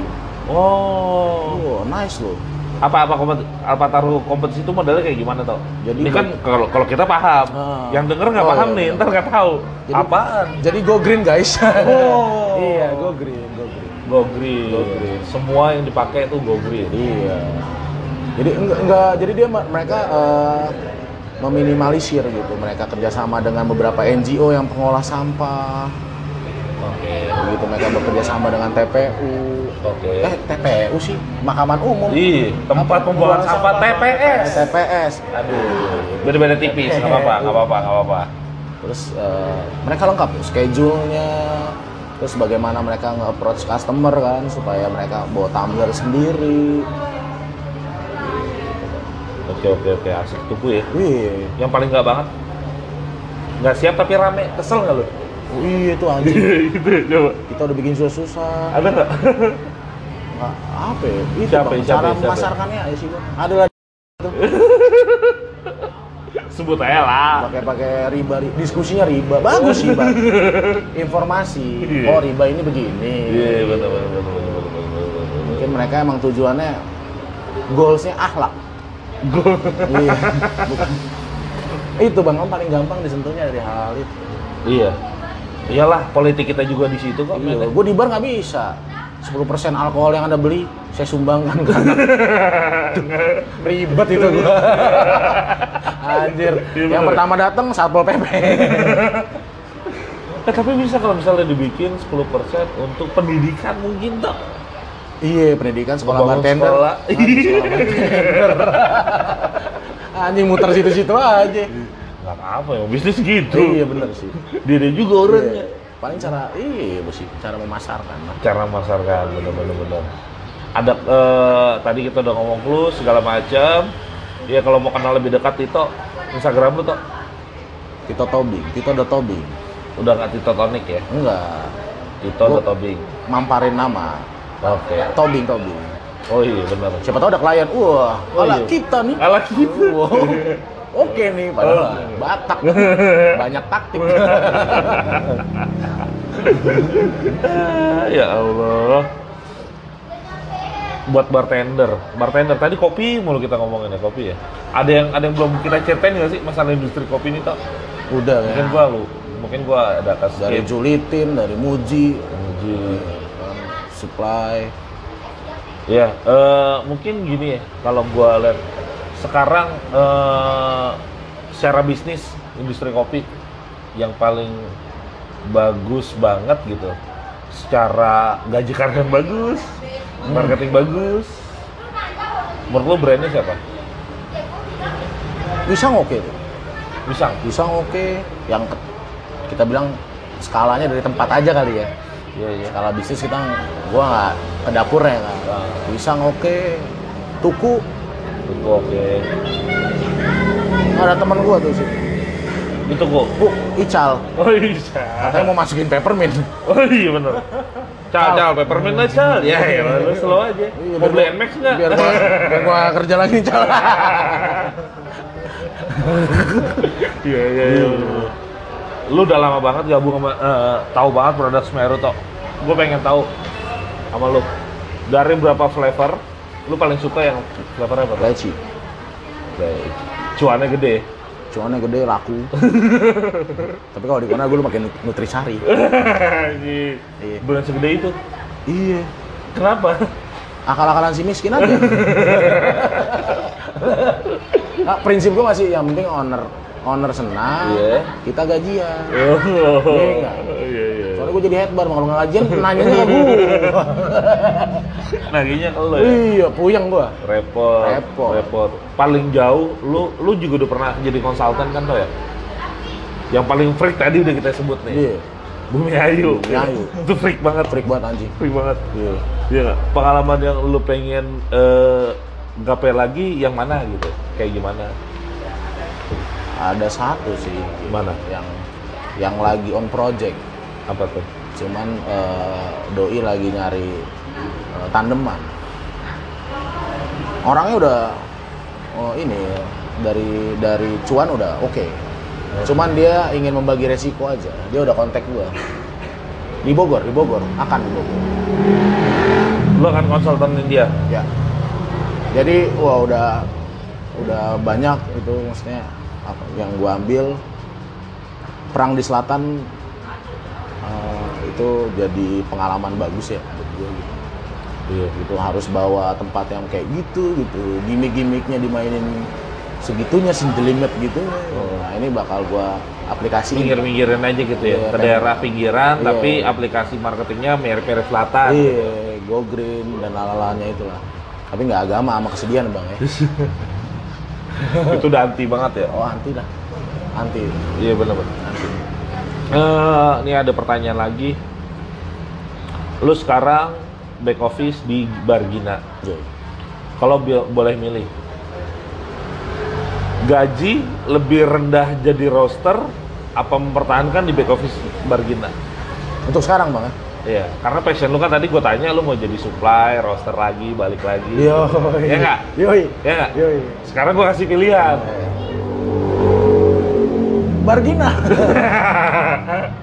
S1: Oh.
S2: oh nice loh
S1: Apa apa kompet Alpataru kompetisi itu modelnya kayak gimana toh?
S2: Jadi
S1: Ini kan kalau kalau kita paham,
S2: Ah.
S1: yang denger nggak
S2: Oh,
S1: paham
S2: iya,
S1: nih,
S2: iya.
S1: ntar nggak tahu.
S2: Jadi-
S1: Apaan?
S2: jadi go green guys
S1: *laughs* Oh.
S2: iya go green go green
S1: Go green.
S2: Go green.
S1: Semua yang dipakai itu go green.
S2: Iya. Jadi enggak, enggak jadi dia ma- mereka eh, meminimalisir gitu. Mereka kerjasama dengan beberapa NGO yang pengolah sampah.
S1: Oke.
S2: Begitu mereka bekerja sama dengan TPU.
S1: Oke.
S2: Eh TPU sih Makaman Umum.
S1: Ih, tempat
S2: Apa?
S1: pembuangan sampah TPS.
S2: TPS.
S1: Aduh, beda-beda tipis, nggak apa-apa, nggak apa-apa, nggak apa-apa.
S2: Terus eh, mereka lengkap tuh, schedule-nya. Terus bagaimana mereka nge-approach customer kan supaya mereka bawa tumbler sendiri.
S1: Oke, oke, oke, asik tubuh ya.
S2: Wih,
S1: Yang paling nggak banget, nggak siap tapi rame, kesel nggak lu?
S2: wih itu
S1: *laughs*
S2: anjing.
S1: Gitu, coba.
S2: Kita udah bikin susah-susah.
S1: Ada nggak? *laughs*
S2: Nggak, apa ya? Itu
S1: Siapa,
S2: Bang,
S1: siapa,
S2: cara
S1: siapa?
S2: memasarkannya ya sih Bang. Adalah
S1: Sebut aja lah.
S2: pakai pakai riba, ri- diskusinya riba. Bagus
S1: *laughs*
S2: sih, Bang. Informasi.
S1: Iya.
S2: Oh, riba ini begini.
S1: Iya, betul, betul, betul, betul, betul, betul, betul.
S2: Mungkin mereka emang tujuannya goalsnya akhlak.
S1: Gua-
S2: iya. Bukan. Itu Bang, kan paling gampang disentuhnya dari hal itu.
S1: Iya. Iyalah, politik kita juga di situ kok.
S2: Iya,
S1: men.
S2: gue di bar nggak bisa. 10% alkohol yang Anda beli, saya sumbangkan ke Anda. Aduh, Ribet itu gua. Anjir.
S1: Iya,
S2: Yang
S1: bener.
S2: pertama datang Satpol PP.
S1: Eh, tapi bisa kalau misalnya dibikin 10% untuk pendidikan mungkin dong.
S2: Iya, pendidikan sekolah
S1: Ngebangun
S2: bartender.
S1: sekolah. Iya.
S2: Ah, sekolah bartender. Anjing muter situ-situ aja.
S1: Gak apa ya, bisnis gitu.
S2: Iya bener sih.
S1: Dia dia juga orangnya.
S2: Iya. Paling cara iya sih, cara memasarkan lah.
S1: Cara masarkan bener-bener bener. Ada eh, tadi kita udah ngomong lu segala macam. Ya kalau mau kenal lebih dekat Tito, Instagram lu Tok.
S2: Tito Tobing, Tito the Tobing.
S1: udah nggak Tito Tonic ya.
S2: Enggak,
S1: Tito
S2: Gua-
S1: atau Tobing.
S2: mamparin nama.
S1: Oke.
S2: Tobing, Tobing.
S1: Oh iya benar.
S2: Siapa tahu ada klien, wah,
S1: Oh,
S2: ala
S1: iya.
S2: kita nih.
S1: Ala kita.
S2: *laughs* Wow. Oke nih,
S1: Oh,
S2: padahal
S1: iya. *laughs*
S2: Batak. Banyak taktik.
S1: Ah, *laughs* ya Allah. Buat bartender, bartender tadi kopi mulu kita ngomongin ya kopi ya. Ada yang ada yang belum kita ceritain nggak sih masalah industri kopi ini toh?
S2: Udah ya.
S1: Mungkin Kan gua lu, mungkin gua ada kasus
S2: Dari
S1: skip.
S2: Julitin, dari Muji,
S1: Anjir.
S2: supply.
S1: Ya, eh, mungkin gini ya, kalau gua lihat sekarang eh, secara bisnis industri kopi yang paling bagus banget gitu. Secara gaji karyawan bagus, marketing bagus. Menurut lu brandnya siapa?
S2: Bisa oke tuh.
S1: Pisang.
S2: Bisa oke. Yang ke- kita bilang skalanya dari tempat aja kali ya.
S1: Iya, iya.
S2: Skala bisnis kita gua nggak ke dapurnya kan.
S1: Ah.
S2: Bisa oke. Tuku
S1: Tunggu oke.
S2: ada teman gua tuh sih.
S1: Itu gua.
S2: Bu, Ical.
S1: Oh iya.
S2: Katanya mau masukin peppermint.
S1: Oh iya bener. Cal, cal, peppermint lah cal. Ya, ya, lu slow aja.
S2: Iya,
S1: Mau
S2: biar
S1: beli
S2: gua-
S1: NMAX nggak?
S2: Biar gua, biar gua kerja lagi, *laughs* Cal.
S1: Iya iya iya. Lu udah lama banget gabung sama eh, tahu banget produk Semeru tok. Gue pengen tahu sama lu dari berapa flavor lu paling suka yang flavor apa?
S2: Leci.
S1: Cuannya *laughs* gede.
S2: Cuannya gede,
S1: *laughs*
S2: laku. Tapi kalau di kona gue lu makin nut- nutrisari.
S1: Anjing.
S2: Iya.
S1: Bulan segede itu.
S2: Iya.
S1: Kenapa?
S2: Akal-akalan si miskin
S1: *laughs*
S2: aja. nah, prinsip gue masih yang penting owner owner senang,
S1: Iya.
S2: kita gajian.
S1: Iya
S2: nggak?
S1: iya iya.
S2: Soalnya gue jadi headbar, kalau nggak gajian nanyanya ke
S1: *laughs*
S2: gue.
S1: Naginya ke lu ya.
S2: iya, puyeng gue.
S1: Repot,
S2: Repot.
S1: repot. Paling jauh, lu lu juga udah pernah jadi konsultan kan toh ya? Yang paling freak tadi udah kita sebut nih.
S2: Iya,
S1: Bumi Ayu.
S2: Bumi Ayu.
S1: Itu freak banget.
S2: freak banget anjing.
S1: Freak banget.
S2: Iya.
S1: Iya nggak? Pengalaman yang lu pengen eh, gapai lagi yang mana gitu? Kayak gimana?
S2: Ada satu sih
S1: Mana?
S2: yang yang lagi on project.
S1: Apa tuh?
S2: Cuman eh, doi lagi nyari eh, tandeman. Orangnya udah oh ini dari dari cuan udah oke. Cuman dia ingin membagi resiko aja. Dia udah kontak gua. Di Bogor, di Bogor, akan di Bogor.
S1: Lu akan konsultanin dia.
S2: Ya. Jadi wah udah udah banyak itu maksudnya apa yang gua ambil perang di selatan eh, itu jadi pengalaman bagus ya buat gua gitu.
S1: Iya.
S2: gitu harus bawa tempat yang kayak gitu gitu gimmick-gimmicknya dimainin segitunya sendelimet gitu nah ini bakal gua aplikasiin
S1: Minggir-minggirin aja gitu ya.
S2: Iya,
S1: Ke
S2: kan.
S1: daerah pinggiran,
S2: Iya.
S1: tapi aplikasi marketingnya merek-merek selatan.
S2: iya go green dan lalalanya itulah tapi nggak agama sama kesedihan bang ya
S1: *laughs* Itu udah anti banget ya.
S2: oh anti lah anti
S1: Iya benar-benar. Eh, ini ada pertanyaan lagi. Lu sekarang back office di Bargina.
S2: Joy.
S1: Kalau bi- boleh milih, gaji lebih rendah jadi roster apa mempertahankan di back office Bargina?
S2: untuk sekarang bang ya
S1: Iya, karena passion lu kan tadi gue tanya lu mau jadi supply, roster lagi, balik lagi. Iya nggak?
S2: yoi
S1: Iya nggak?
S2: yoi
S1: Sekarang gue kasih pilihan.
S2: Bargina *laughs*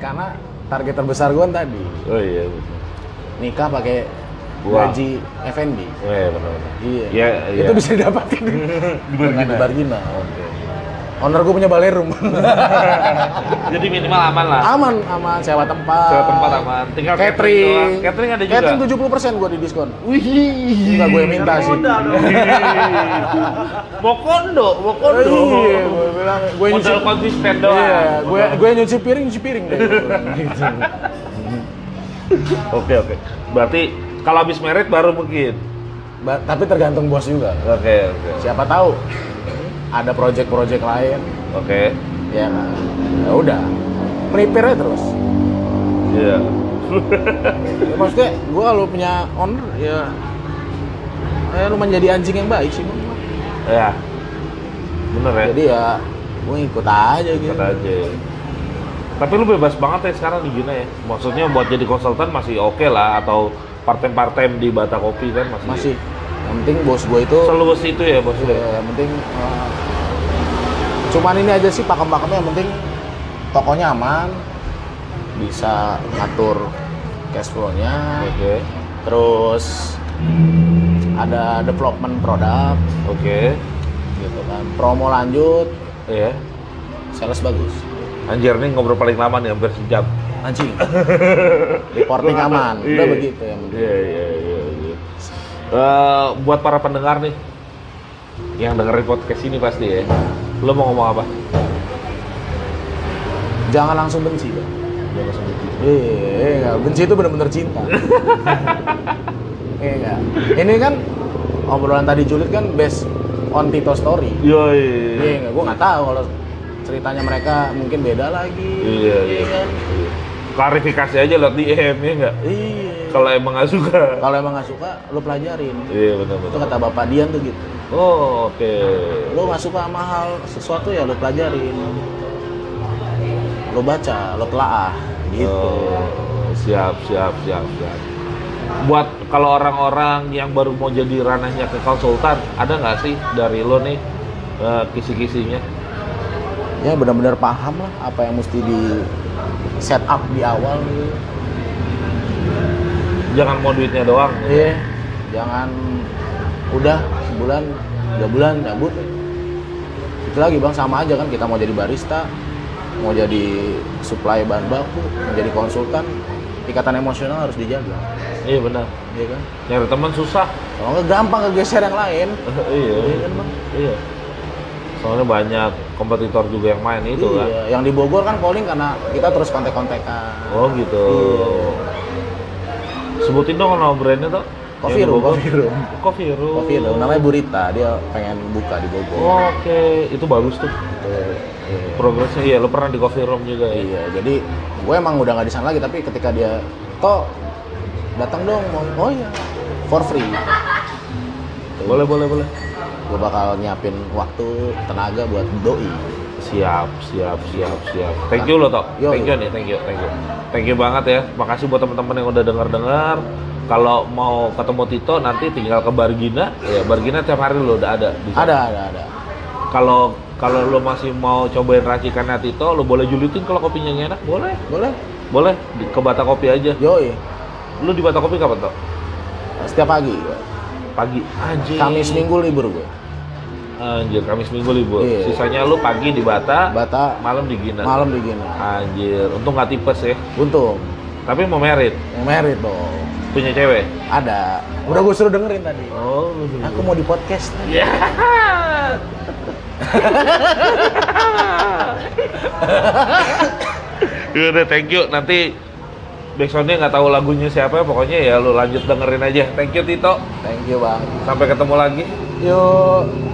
S2: karena target terbesar gue tadi
S1: Oh iya, bener.
S2: nikah pakai
S1: Wah.
S2: gaji F&B
S1: Oh, iya benar-benar.
S2: iya
S1: Iya, iya.
S2: itu bisa didapatin
S1: *laughs* Di
S2: Dengan
S1: Bargina.
S2: di Bargina owner gue punya
S1: Nah.
S2: balerum
S1: Jadi minimal aman lah.
S2: *laughs* aman aman sewa tempat
S1: Sewa tempat aman. Tinggal catering
S2: catering
S1: doang. Catering ada juga? *laughs*
S2: catering 70% gue di diskon wih enggak gue yang minta sih
S3: Modal
S2: *laughs*
S3: dong.
S1: Iya. Mau kondo, mau kondo.
S2: Iya, gue bilang gue
S1: Modal
S2: nyuci-
S1: konsisten doang.
S2: Iya, gue gue nyuci piring, nyuci piring deh. Gitu.
S1: Oke oke. Berarti Kalau habis merit baru mungkin.
S2: Ba- tapi tergantung bos juga
S1: Oke, oke.
S2: siapa tahu ada project-project lain
S1: Oke.
S2: ya kan? ya udah melipir aja terus
S1: Iya.
S2: Ya, maksudnya gue kalau punya owner ya eh, lu menjadi anjing yang baik sih Bang.
S1: Ya. Bener ya?
S2: jadi ya gue ikut aja gitu
S1: Kata aja ya. Tapi lu bebas banget ya sekarang di Gina ya. Maksudnya buat jadi konsultan masih oke lah atau part-time-part-time di Bata Kopi kan masih.
S2: masih yang penting bos gue itu
S1: Seluas itu ya bos lu
S2: ya, yang penting eh, cuman ini aja sih pakem-pakemnya yang penting tokonya aman bisa ngatur cash flow-nya
S1: Oke.
S2: terus ada development produk
S1: Oke.
S2: gitu kan promo lanjut
S1: Iya.
S2: sales bagus
S1: Anjir nih ngobrol paling lama nih hampir sejam.
S2: anjing reporting aman udah
S1: Iya.
S2: begitu yang penting
S1: Iya iya iya. iya. Eh, buat para pendengar nih yang dengerin podcast ini pasti ya. Lo mau ngomong apa?
S2: jangan langsung benci Bang.
S1: Jangan sebut.
S2: Eh, enggak. benci itu benar-benar cinta. eh, enggak. Ini kan obrolan tadi julid kan based on Tito story.
S1: Yoi.
S2: Eh,
S1: iya.
S2: enggak. Gue nggak tahu kalau ceritanya mereka mungkin beda lagi.
S1: Iya
S2: Eh,
S1: iya.
S2: kan?
S1: Klarifikasi aja lewat DM ya enggak?
S2: Iya. Kalau
S1: Kalau emang nggak suka.
S2: emang nggak suka, lo pelajarin.
S1: Iya benar
S2: Itu
S1: benar.
S2: kata Bapak Dian tuh gitu.
S1: Oh oke.
S2: Lo nggak suka sama hal sesuatu ya lo pelajarin. Lo baca, lo telaah, gitu.
S1: Oh, siap siap siap siap. Buat kalau orang-orang yang baru mau jadi ranahnya ke konsultan, ada nggak sih dari lo nih eh, kisi-kisinya?
S2: ya benar-benar paham lah apa yang mesti di set up di awal gitu.
S1: Jangan mau duitnya doang.
S2: Iya. Jangan udah sebulan, dua bulan cabut. Itu lagi bang sama aja kan kita mau jadi barista, mau jadi supply bahan baku, mau jadi konsultan, ikatan emosional harus dijaga,
S1: Iya benar.
S2: iya kan?
S1: Nyari teman susah.
S2: Kalau nggak gampang kegeser yang lain,
S1: iya.
S2: *laughs* iya kan bang?
S1: Iya. Soalnya banyak kompetitor juga yang main itu kan.
S2: Iya. Yang di Bogor kan calling karena kita terus kontek-kontekan.
S1: Oh gitu. Sebutin dong nama brandnya tuh.
S2: Iya. Coffee
S1: Yang di
S2: room,
S1: Bogor.
S2: coffee room.
S1: Coffee room.
S2: Kopi loh, namanya Burita, dia pengen buka di Bogor.
S1: Oke, itu bagus tuh.
S2: Iya.
S1: Progresnya iya, lo pernah di coffee room juga ya.
S2: Iya, jadi gue emang udah nggak di sana lagi, tapi ketika dia kok datang dong, mau oh iya, for free.
S1: Boleh, boleh, boleh.
S2: Gue bakal nyiapin waktu, tenaga buat doi.
S1: Siap, siap, siap, siap. Thank you lo, Tok.
S2: Yo,
S1: Thank you nih, thank you, thank you. Thank you banget ya. Makasih buat teman-teman yang udah dengar-dengar. Kalau mau ketemu Tito nanti tinggal ke Bargina. Ya, Bargina tiap hari lo udah ada di sana.
S2: Ada, ada, ada.
S1: Kalau kalau lo masih mau cobain racikannya Tito, lo boleh julitin kalau kopinya nggak enak, boleh.
S2: Boleh?
S1: Boleh di, ke Bata Kopi aja.
S2: Yoi,
S1: Lo di Bata Kopi kapan, Tok?
S2: setiap pagi.
S1: Pagi. Anjir.
S2: Kamis minggu libur gue.
S1: Anjir, Kamis Minggu libur.
S2: Iya.
S1: Sisanya lo pagi di Bata,
S2: Bata
S1: malam di Gina.
S2: malam di gini.
S1: Anjir, untung nggak tipes ya.
S2: Untung,
S1: Tapi mau merit,
S2: yang merit dong.
S1: punya cewek.
S2: Ada. Udah gue suruh dengerin tadi. Iya.
S1: Oh.
S2: Aku mau di podcast
S1: Ya.
S2: nih.
S1: Yaudah, Iya thank you. Nanti backsoundnya nggak tahu lagunya siapa, pokoknya ya lu lanjut dengerin aja. Thank you Tito.
S2: Thank you bang.
S1: Sampai ketemu lagi.
S2: Yuk.